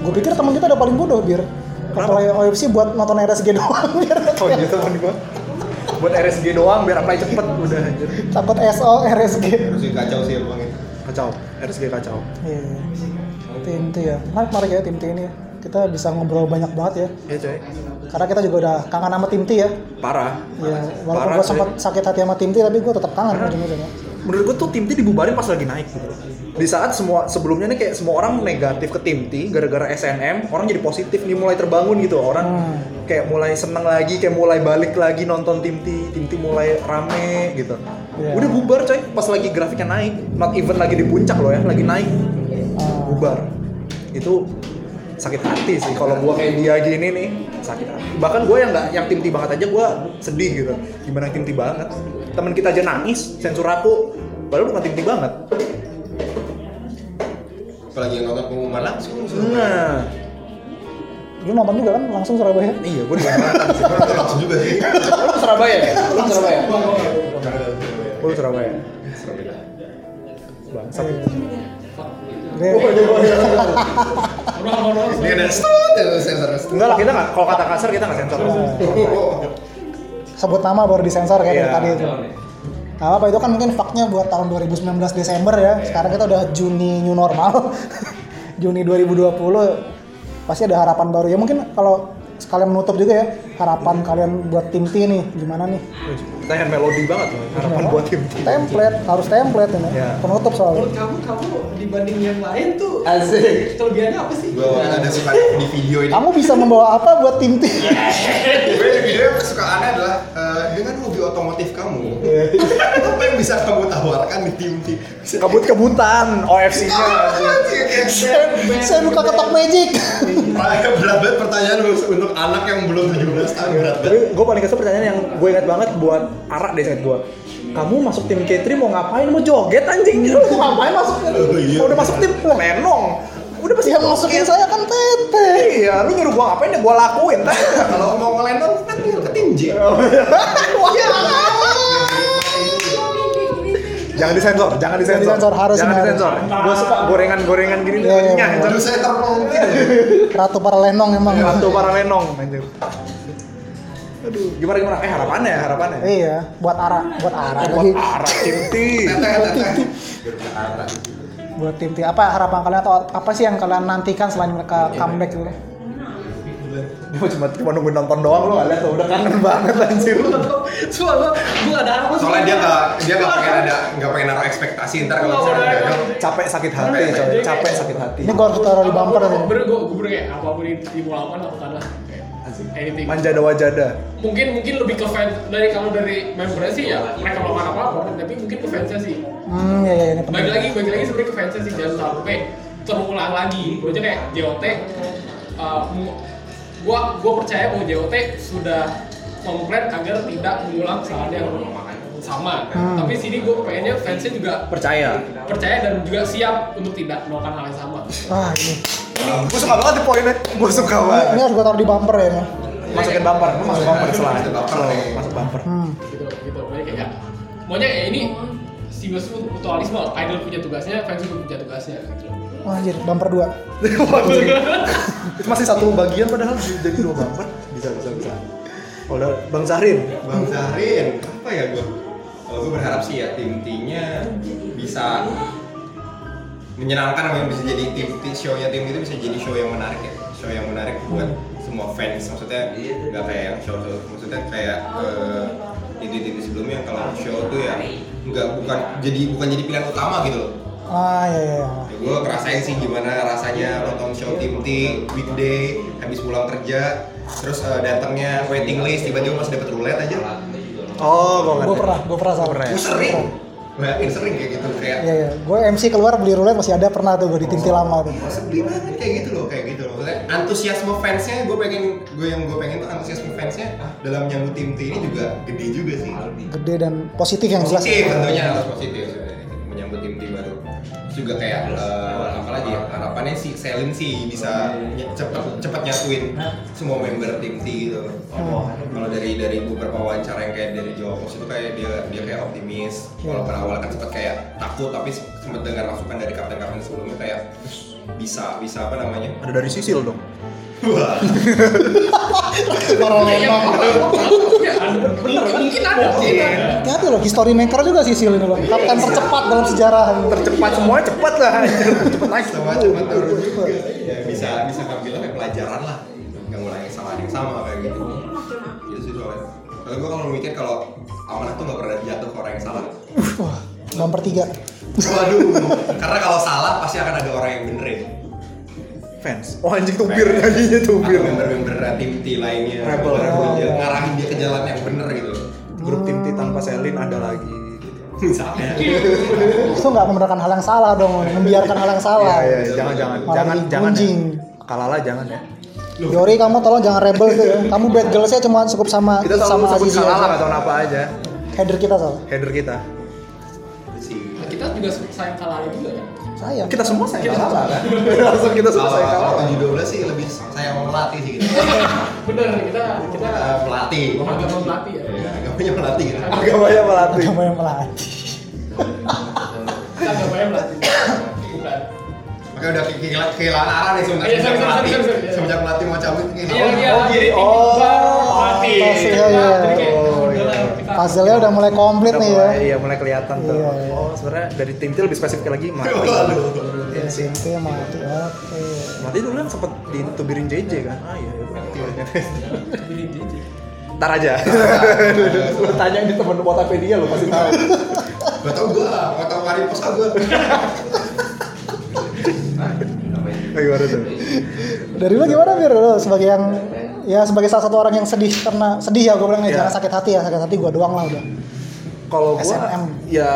gue pikir teman kita udah paling bodoh bir apply OFC buat nonton RSG doang biar Oh iya teman gue. Buat RSG doang biar apply cepet udah anjir. takut SO RSG terus kacau sih emang itu Kacau, RSG kacau. Iya, iya. tim T ya menarik menarik ya tim T ini ya kita bisa ngobrol banyak banget ya Iya coy, karena kita juga udah kangen sama tim T ya parah. Iya, walaupun Parah gue sih. sempat sakit hati sama tim T tapi gue tetap kangen ujung-ujungnya. Menurut gue tuh tim T dibubarin pas lagi naik gitu. Di saat semua sebelumnya nih kayak semua orang negatif ke tim T gara-gara SNM, orang jadi positif nih mulai terbangun gitu. Orang Hmm. kayak mulai seneng lagi, kayak mulai balik lagi nonton tim T, tim T mulai rame gitu. Iya. Udah bubar coy, pas lagi grafiknya naik, not even lagi di puncak loh ya, lagi naik. Ah, bubar itu sakit hati sih kalau gua kayak dia gini nih sakit hati bahkan gua yang nggak yang tim banget aja gua sedih gitu gimana tim banget temen kita aja nangis sensor aku baru bukan tim banget apalagi yang nonton pengumuman langsung nah lu nonton juga kan langsung Surabaya? iya gua di Jakarta sih. Orang nonton langsung juga sih lu Surabaya ya lu Surabaya lu Surabaya Surabaya. bangsat Iya. Oh, Udah kalau lo Ini ada stun terus sensor stun. enggak lah kita nggak kalau kata kasar kita nggak sensor Sebut nama baru disensor kayak Iya. tadi itu. Nah, apa itu kan mungkin faknya buat tahun 2019 Desember ya. Sekarang kita udah Juni new normal. Juni 2020 pasti ada harapan baru ya. Mungkin kalau sekalian menutup juga ya harapan kalian buat tim T nih gimana nih? pertanyaan melodi banget loh harapan buat tim T Template harus template ini. Iya. Penutup soalnya. Menurut kamu, kamu dibanding yang lain tuh asik kelebihannya apa sih? Iya. Gue ada suka di video ini. Kamu bisa membawa apa buat tim T? Gue di video yang kesukaannya adalah eh, dengan hobi otomotif kamu. apa yang bisa kamu tawarkan di tim tim? kebut-kebutan OFC-nya Iya, Saya buka ketok magic. Paling iya. berat banget pertanyaan untuk- untuk anak yang belum 17 tahun berat banget. Tapi gue paling kesel pertanyaan yang gue ingat banget buat Arak deh ingat gue. Kamu masuk tim K3 mau ngapain? Mau joget anjing? Lu mau ngapain masuk? Oh, iya. Mau udah masuk tim lenong. Udah pasti Yang masukin saya kan Tete. Iya, lu nyuruh gue ngapain ya gue lakuin. Kalau mau ngelendong kan tinggal ke tim J. Iya. jangan disensor, jangan disensor. disensor, harus jangan ini disensor. Gue suka gorengan-gorengan gini Iya, iya, nih. Aduh saya terpelontir. Ratu para lenong emang. Satu Iya, para lenong anjing. Aduh, gimana gimana? Eh harapannya, harapannya. Iya, buat arah, buat arah lagi, Buat Arak tim T. Teteh teteh. buat tim T. Apa harapan kalian atau apa sih yang kalian nantikan selain mereka comeback gitu? Gua cuma cuma nunggu nonton doang lu nggak lihat tuh udah kangen banget anjir. Cuma gue, gue gak ada harapan Soalnya dia nggak dia nggak pengen ada nggak pengen naruh ekspektasi ntar kalau misalnya gagal. capek sakit hati coy capek sakit hati Ini gua harus taruh di bumper ya, nih. nih. Bener gue gue kayak apapun yang tim lawan aku kalah. Kayak Anything. manjada wajada Mungkin mungkin lebih ke fans dari kalau dari membernya sih ya mereka melakukan apa apa tapi mungkin ke fansnya sih. Hmm, ya ya ini Baik penting. lagi baik lagi sebenarnya ke fansnya sih jangan sampai terulang lagi. Gue aja kayak JOT. eh, mu- gua gua percaya bahwa JOT sudah komplain agar tidak mengulang kesalahan yang sama. Hmm. Tapi sini gue pengennya fansnya juga percaya percaya dan juga siap untuk tidak melakukan hal yang sama. Wah Ah, ini, gue suka banget di poinnya gue suka ini, ini harus gua taruh di bumper ya. Ini. masukin bumper, lu masuk bumper selain. Masuk bumper Selain, nih. Masuk bumper. Hmm. gitu gitu Pokoknya kayak maunya ya ini stimulus itu mutualisme idol punya tugasnya fans juga punya tugasnya gitu Wah, Oh, anjir, bumper dua. Waduh. Itu masih satu bagian padahal jadi dua bumper. Bisa bisa bisa. Oh, udah Bang Sahrin. Bang Zarin, apa ya gue? Kalau gue berharap sih ya tim timnya bisa menyenangkan apa yang bisa jadi tim tim show-nya tim itu bisa jadi show yang menarik ya show yang menarik buat semua fans maksudnya nggak kayak yang show show maksudnya kayak ini tim sebelumnya kalau show tuh ya nggak bukan jadi bukan jadi pilihan utama gitu loh Ah, iya, iya. ya gue ngerasain sih gimana rasanya nonton show tim T weekday habis pulang kerja terus eh, datangnya waiting list tiba-tiba masih dapat roulette aja Oh, gua ngerti. Gue pernah, gue pernah sama. Pernah ya? Gue sering, bayangin sering kayak gitu kayak Iya, iya. Gue MC keluar beli roulette masih ada pernah tuh gue di tim T lama tuh. "Wah, sedih banget kayak gitu loh kayak gitu loh. Maksudnya antusiasme fansnya gue pengen gue yang gue pengen tuh antusiasme fansnya ah, dalam nyambut tim T ini juga gede juga sih. Gede dan positif yang jelas. Positif tentunya harus positif menyambut tim T baru. Terus juga kayak eh, apa lagi ya harapannya si Selin sih bisa ny- cepet cepet nyatuin semua member tim T gitu. Hmm. Kalau dari dari beberapa wawancara yang kayak dari Jawa Pos itu kayak dia dia kayak optimis. Walaupun awal kan sempat kayak takut tapi sempat dengar masukan dari kapten-kapten sebelumnya kayak bisa bisa apa namanya? Ada dari sisil dong. Wah, Orang Iya, iya, Lembang. iya, ada. mungkin ada mungkin Iya. ada Hati-hati loh, history maker juga sih Sil ini loh. Kapten tercepat dalam sejarah. Tercepat semuanya cepat lah. Cepat naik. sama cuma Iya, turun juga. Ya, bisa bisa ngambil kayak pelajaran lah. Gak mulai kesalahan yang sama kayak gitu. Gitu sih soalnya. Kalau gue kalau mikir kalau amanah tuh gak pernah jatuh ke orang yang salah. Wah, bumper tiga. Waduh, karena kalau salah pasti akan ada orang yang benerin. Fans. Oh, anjing tubir tadinya tubir. Atau member-member tim T lainnya. Rebel, Baru rebel. dia ngarahin dia ke jalan yang bener gitu. Grup tim T tanpa Selin ada lagi. gitu. Misalnya. Itu nggak membenarkan hal yang salah dong, membiarkan hal yang salah. Iya, iya, jangan jangan Malah jangan jadi jangan. anjing. Ya. Kalala jangan ya. Yori kamu tolong jangan rebel tuh ya. Kamu bad girls-nya cuma cukup sama Kita selalu sama sebut Azizi Kalala nggak aja. tahu apa aja. Header kita salah. Header kita. Si Nah, kita juga sayang kalah juga ya Sayang. Kita semua sayang Kalala kan. Langsung kita semua sayang kalau Kalala. 7-12 sih lebih saya mau melatih sih gitu. bener kita kita Eh, pelatih. agama melati ya Ya, agamanya melatih gitu. Agamanya melatih. Kamu yang melatih. kita agamanya melati bukan Oke udah ke- ke- kehilangan arah nih semenjak Iya, sorry, semenjak sorry, melatih. sorry, sorry, sorry. Semenjak melatih mau cabut Iya, kehilangan. iya, oh, gini. titik Oh, bawah, melati. pas, iya, iya. Jadi kayak, Oh, udahlah, iya. kita- Puzzle-nya udah mulai komplit Udah nih ya. mulai, iya mulai kelihatan tuh. Iya, iya. Oh, sebenarnya dari tim T lebih spesifik lagi mati. gitu. Waduh. Iya, Sinti mati. Oke. Mati dulu kan sempet ditubirin JJ kan. Ah iya. iya. Jadi- jadi. Ntar aja. lu tanya di temen Wotapedia lu pasti tahu. Gak tau gue, gak tau kali pos gue. Eh, Gimana tuh? Dari lu gimana Bir lu sebagai yang ya sebagai salah satu orang yang sedih karena sedih ya gue bilang ya Iya. jangan sakit hati ya sakit hati gue doang lah udah. Kalau SNM. gua ya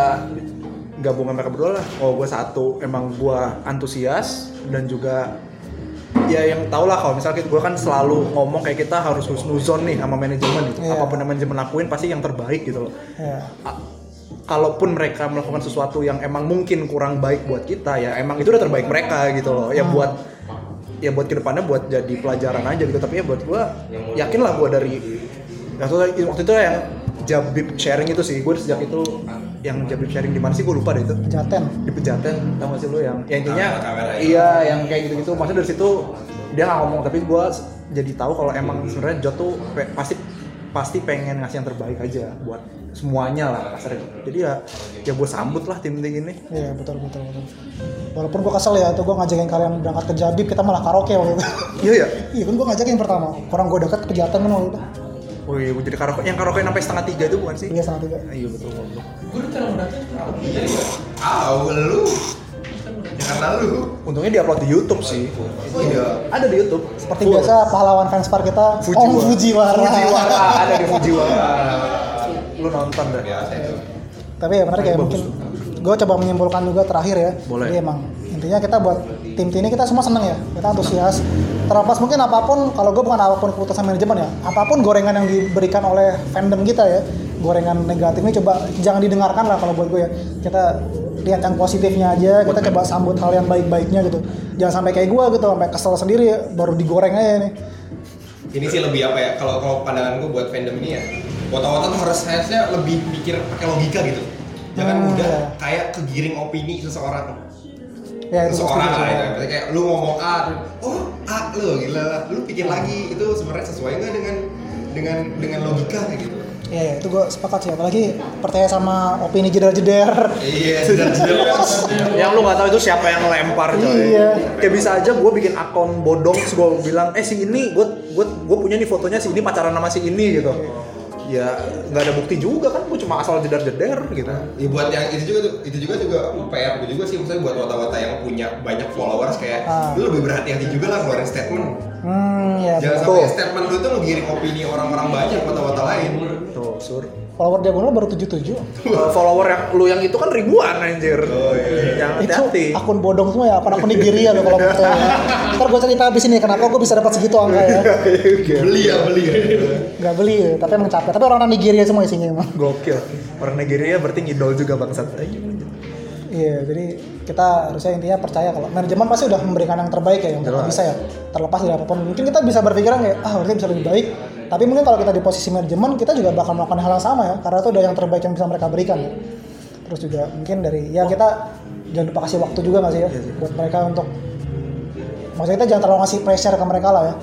gabungan mereka berdua lah. Kalau gua satu emang gua antusias dan juga ya yang tau lah kalau misalnya kita- gua kan selalu ngomong kayak kita harus husnuzon nih sama manajemen gitu. Iya. Apapun yang manajemen lakuin pasti yang terbaik gitu loh. Ya. A- kalaupun mereka melakukan sesuatu yang emang mungkin kurang baik buat kita ya emang itu udah terbaik mereka gitu loh ya buat ya buat kedepannya buat jadi pelajaran aja gitu tapi ya buat gua yakin lah gua dari waktu itu, waktu itu yang Jabib sharing itu sih gue sejak itu yang Jabib sharing di mana sih gue lupa deh itu Jaten. di pejaten tau gak sih lu yang yang intinya Kamera, kamera itu. iya yang kayak gitu gitu maksudnya dari situ dia nggak ngomong tapi gue jadi tahu kalau emang sebenarnya Jo tuh pe- pasti pasti pengen ngasih yang terbaik aja buat semuanya lah kasarnya jadi ya ya gue sambut lah tim tim ini Iya betul betul betul. Walaupun gue kesel ya tuh gue ngajakin kalian berangkat ke Jabib kita malah karaoke waktu itu. iya ya iya kan gue ngajakin yang pertama. Orang gue deket ke Jaten kan waktu itu. wih gue Oh iya, jadi karaoke yang karaoke sampai setengah tiga itu bukan sih Tiga sama tiga. iya betul goblok. Gua udah terlalu berat, terlalu berat. Au, lu. Karena lu. untungnya di upload di YouTube sih Oh iya. ada di YouTube Seperti Full. biasa pahlawan fanspar kita Om Fujiwara. Fujiwara. Fujiwara ada di Fujiwara lu nonton dah Biasa itu. Tapi ya benar kayak mungkin gue coba menyimpulkan juga terakhir ya. Boleh. Jadi emang intinya kita buat tim tim ini kita semua seneng ya. Kita antusias. Terlepas mungkin apapun kalau gue bukan apapun keputusan manajemen ya. Apapun gorengan yang diberikan oleh fandom kita ya. Gorengan negatif ini coba jangan didengarkan lah kalau buat gue ya. Kita lihat yang positifnya aja. Kita coba sambut hal yang baik-baiknya gitu. Jangan sampai kayak gue gitu sampai kesel sendiri baru digoreng aja nih. ini sih lebih apa ya kalau kalau pandangan gue buat fandom ini ya wota-wota tuh harus harusnya lebih pikir pakai logika gitu jangan Hmm. mudah kayak kegiring opini seseorang ya itu pasti seseorang gitu. lah ya. Maksudnya kayak lu ngomong A terus, oh A lu gila lu pikir lagi itu sebenarnya sesuai nggak dengan dengan dengan logika kayak gitu Iya, iya, itu gue sepakat sih. Apalagi percaya sama opini jeder-jeder. iya sudah yang lu nggak tahu itu siapa yang lempar coy Iya. kayak bisa aja gue bikin akun bodong terus gue bilang eh si ini gue gue punya nih fotonya si ini pacaran sama si ini gitu ya nggak ada bukti juga kan gue cuma asal jedar jedar gitu ya buat yang itu juga tuh itu juga juga PR gue juga sih maksudnya buat wata-wata yang punya banyak followers kayak Ah. lu lebih berhati-hati juga lah ngeluarin statement Hmm, ya. jangan betul. sampai statement lu tuh ngegiring opini orang-orang banyak wata-wata lain tuh sur Follower diagonal baru 77. Uh, follower yang lu yang itu kan ribuan anjir Oh, iya. jangan Itu hati-hati akun bodong semua ya, akun akun Nigeria loh kalau percaya. Ntar gue cerita abis ini kenapa gue bisa dapat segitu angka ya. beli ya beli ya Gak beli, ya, tapi emang capek. Tapi orang-orang Nigeria semua isinya emang. gokil orang Nigeria berarti ngidol juga bangsat Ayo, Iya, jadi kita harusnya intinya percaya kalau manajemen pasti udah memberikan yang terbaik ya, yang Jelas. bisa ya. Terlepas dari apapun, mungkin kita bisa berpikiran kayak ah harusnya bisa lebih baik. Tapi mungkin kalau kita di posisi manajemen, kita juga bakal melakukan hal yang sama ya, karena itu udah yang terbaik yang bisa mereka berikan. Ya. Terus juga mungkin dari ya kita jangan lupa kasih waktu juga nggak sih ya, buat mereka untuk maksudnya kita jangan terlalu ngasih pressure ke mereka lah ya,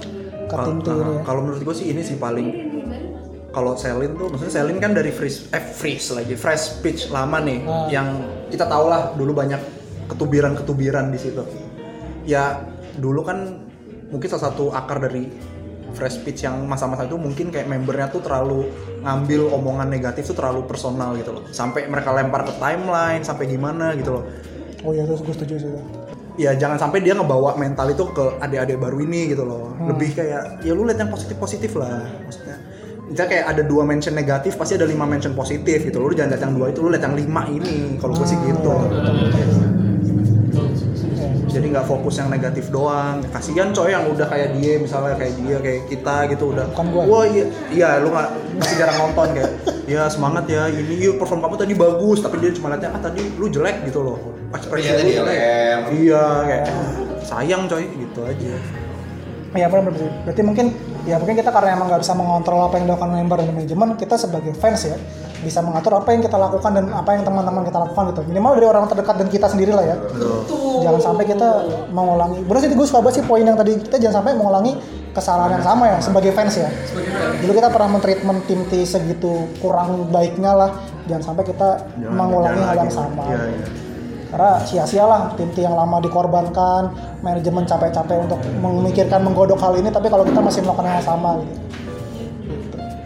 ke Kal- tim tim ini. nah, Ya. kalau menurut gue sih ini sih paling kalau Selin tuh maksudnya Selin kan dari free eh, freeze lagi fresh speech lama nih Ah. yang kita tau lah dulu banyak ketubiran-ketubiran di situ ya dulu kan mungkin salah satu akar dari fresh speech yang masa-masa itu mungkin kayak membernya tuh terlalu ngambil omongan negatif tuh terlalu personal gitu loh sampai mereka lempar ke timeline sampai gimana gitu loh Oh iya, terus gue setuju sih. itu. ya jangan sampai dia ngebawa mental itu ke adik-adik baru ini gitu loh lebih kayak ya lu lihat yang positif positif lah maksudnya misalnya kayak ada dua mention negatif pasti ada lima mention positif gitu lu jangan lihat yang dua itu lu lihat yang lima ini kalau gue sih gitu Iya. jadi nggak fokus yang negatif doang kasihan coy yang udah kayak dia misalnya kayak dia kayak kita gitu udah Bukan gua. wah iya, iya lu nggak masih jarang nonton kayak ya semangat ya ini yuk perform kamu tadi bagus tapi dia cuma liatnya ah tadi lu jelek gitu loh pas ternyata dia lem iya kayak sayang coy gitu aja Iya benar benar. Berarti mungkin ya mungkin kita karena emang nggak bisa mengontrol apa yang dilakukan member dan manajemen, kita sebagai fans ya bisa mengatur apa yang kita lakukan dan apa yang teman-teman kita lakukan gitu. Minimal dari orang terdekat dan kita sendiri lah ya. Jangan sampai kita mengulangi. Benar sih gue suka banget sih poin yang tadi kita jangan sampai mengulangi kesalahan yang sama ya sebagai fans ya. Dulu kita pernah mentreatment tim T segitu kurang baiknya lah. Jangan sampai kita mengulangi hal yang sama iya iya karena sia-sialah tim tim yang lama dikorbankan manajemen capek-capek untuk memikirkan menggodok hal ini tapi kalau kita masih melakukan hal yang sama gitu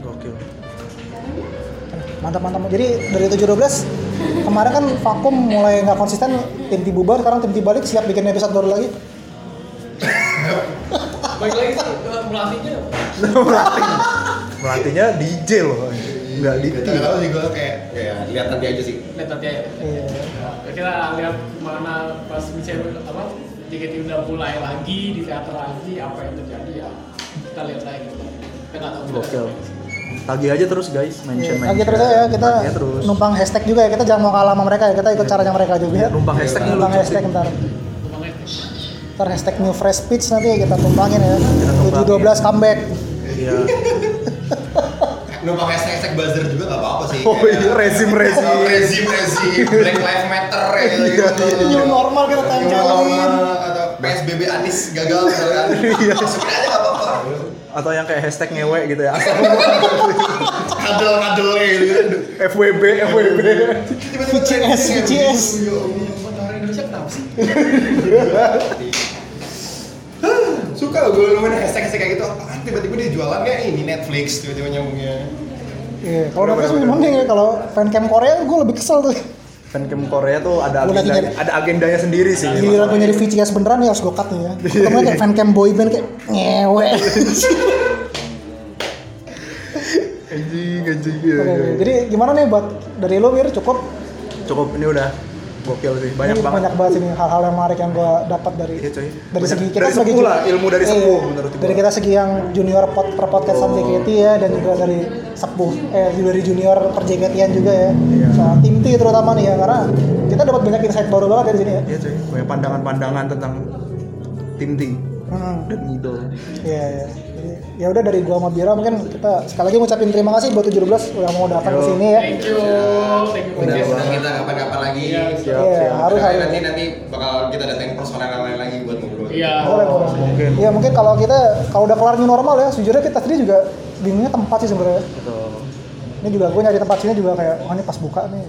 gokil mantap mantap jadi dari 7-12 kemarin kan vakum mulai nggak konsisten tim tim bubar sekarang tim tim balik siap bikin episode baru lagi Baik lagi sih, eh, melatihnya melatih melatihnya DJ loh nggak di Gak tau sih gue kayak kayak lihat nanti aja sih lihat nanti aja. iya Ya, Kita lihat mana pas misalnya apa JKT udah mulai lagi di teater lagi apa yang terjadi ya kita lihat lagi. Kita nggak tahu. gokil tagi aja terus guys mention mention lagi terus ya kita Tagih terus Iya. numpang hashtag juga ya kita jangan mau kalah sama mereka ya kita ikut caranya mereka juga ya numpang hashtagnya numpang lucu sih. hashtag ntar Banget. ntar hashtag new fresh speech nanti kita tumpangin ya tumpangin. 7-12 comeback iya lu pakai hashtag hashtag buzzer juga gak apa-apa sih oh iya rezim rezim rezim rezim black lives matter ya gitu new normal ya, kita New tempelin normal, atau PSBB Anis gagal misalkan iya sebenarnya gak apa-apa atau yang kayak hashtag ngewe gitu ya Asal kadel kadel gitu FWB FWB VCS, VCS. ya Orang Indonesia kenapa sih? suka gue nemuin hashtag hashtag kayak gitu apaan tiba-tiba dia jualannya ini Netflix tiba-tiba nyambungnya Iya, kalau Netflix memang mending ya kalau fancam Korea gue lebih kesel tuh. fancam Kan Korea tuh ada Udah agendanya, tiga- ada agendanya sendiri sih Gila gue nyari VCS beneran ya harus gue cut nih Iya. ya. Temen kayak fancam boyband kayak ngewe. anjing anjing iya, iya. Oke, oke. Jadi gimana nih buat dari lo Wir cukup? cukup ini udah gokil sih banyak Ini banget banyak banget ini hal-hal yang menarik yang gue dapat dari Iya, coy. dari Banyak- segi kita dari sebagai sepuh ju- lah, ilmu dari Iya, sepuh menurut gua. dari kita segi yang junior pod per podcastan JKT ya dan juga dari sepuh eh dari junior per JKT-an juga ya Iya. soal tim T terutama nih ya karena kita dapat banyak insight baru banget dari sini ya Iya cuy, banyak pandangan-pandangan tentang tim T Hmm. dan middle. Iya, iya. Jadi ya udah dari gua sama Bira mungkin kita sekali lagi ngucapin terima kasih buat 17 udah mau datang ke sini ya. Thank you. Thank you. Udah Podcast. undang kita kapan-kapan lagi. Iya, siap. Iya, harus Nanti- harus. nanti nanti bakal kita datengin personel yang lain lagi buat ngobrol. Iya. Boleh, boleh. Ya mungkin kalau kita kalau udah kelar new normal ya, sejujurnya kita sendiri juga bingungnya tempat sih sebenarnya. Ini juga gue nyari tempat sini juga kayak, oh ini pas buka nih.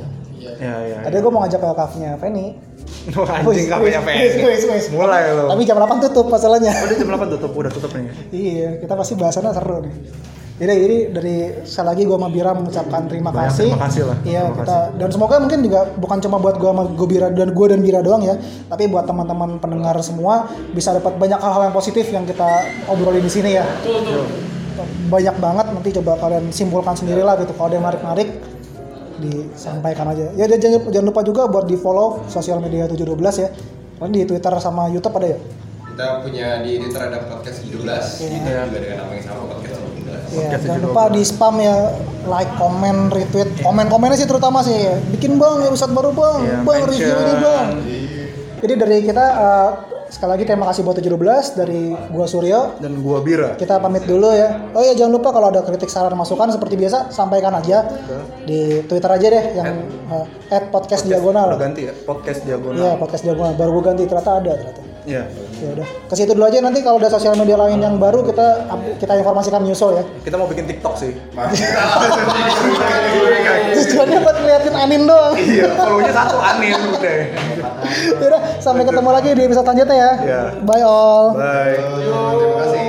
Ya ya. Tadi gue mau ngajak ke kafe-nya Feni. Wah, anjing kafenya PNI. Wis, wis, wis. Mulai lo. Tapi jam 8 tutup masalahnya. Udah jam 8 tutup, udah tutup nih. Iya, kita pasti bahasannya seru nih. Jadi, jadi dari sekali lagi gue sama Bira mengucapkan terima Banyak kasih. terima kasih lah. Iya, Terima kita dan semoga mungkin juga bukan cuma buat gue sama gue Bira dan gue dan Bira doang ya, tapi buat teman-teman pendengar semua bisa dapat banyak hal-hal yang positif yang kita obrolin di sini ya. Tuh, tuh. Banyak banget nanti coba kalian simpulkan sendiri lah gitu. Kalau ada yang menarik-menarik disampaikan aja. Ya dan jangan, jangan lupa juga buat di follow sosial media 712 ya. Kalian di Twitter sama YouTube ada ya? Kita punya di Twitter ada podcast 17, di YouTube juga dengan nama yang sama podcast 17. Iya, Podcast jangan itu lupa di spam ya like, komen, retweet, komen-komennya sih terutama sih ya. Bikin bang episode baru bang, Iya, bang review ini mention. bang. Jadi dari kita eh, sekali lagi terima kasih buat 17 dari gua Suryo. Dan gua Bira. Kita pamit dulu ya. Oh iya jangan lupa kalau ada kritik saran masukan seperti biasa sampaikan aja di Twitter aja deh yang eh, at podcast diagonal. Udah ganti ya, podcast Iya diagonal. podcast diagonal. Baru gua ganti ternyata ada ternyata. Iya. Ya udah. Ke situ dulu aja nanti kalau ada sosial media lain yang baru kita kita informasikan Newsol ya. Kita mau bikin TikTok sih. Tujuannya buat ngeliatin Anin doang. Iya, follow-nya satu aneh udah. Yaudah, sampai ketemu lagi di episode selanjutnya ya. Iya. Bye all. Bye. Terima kasih.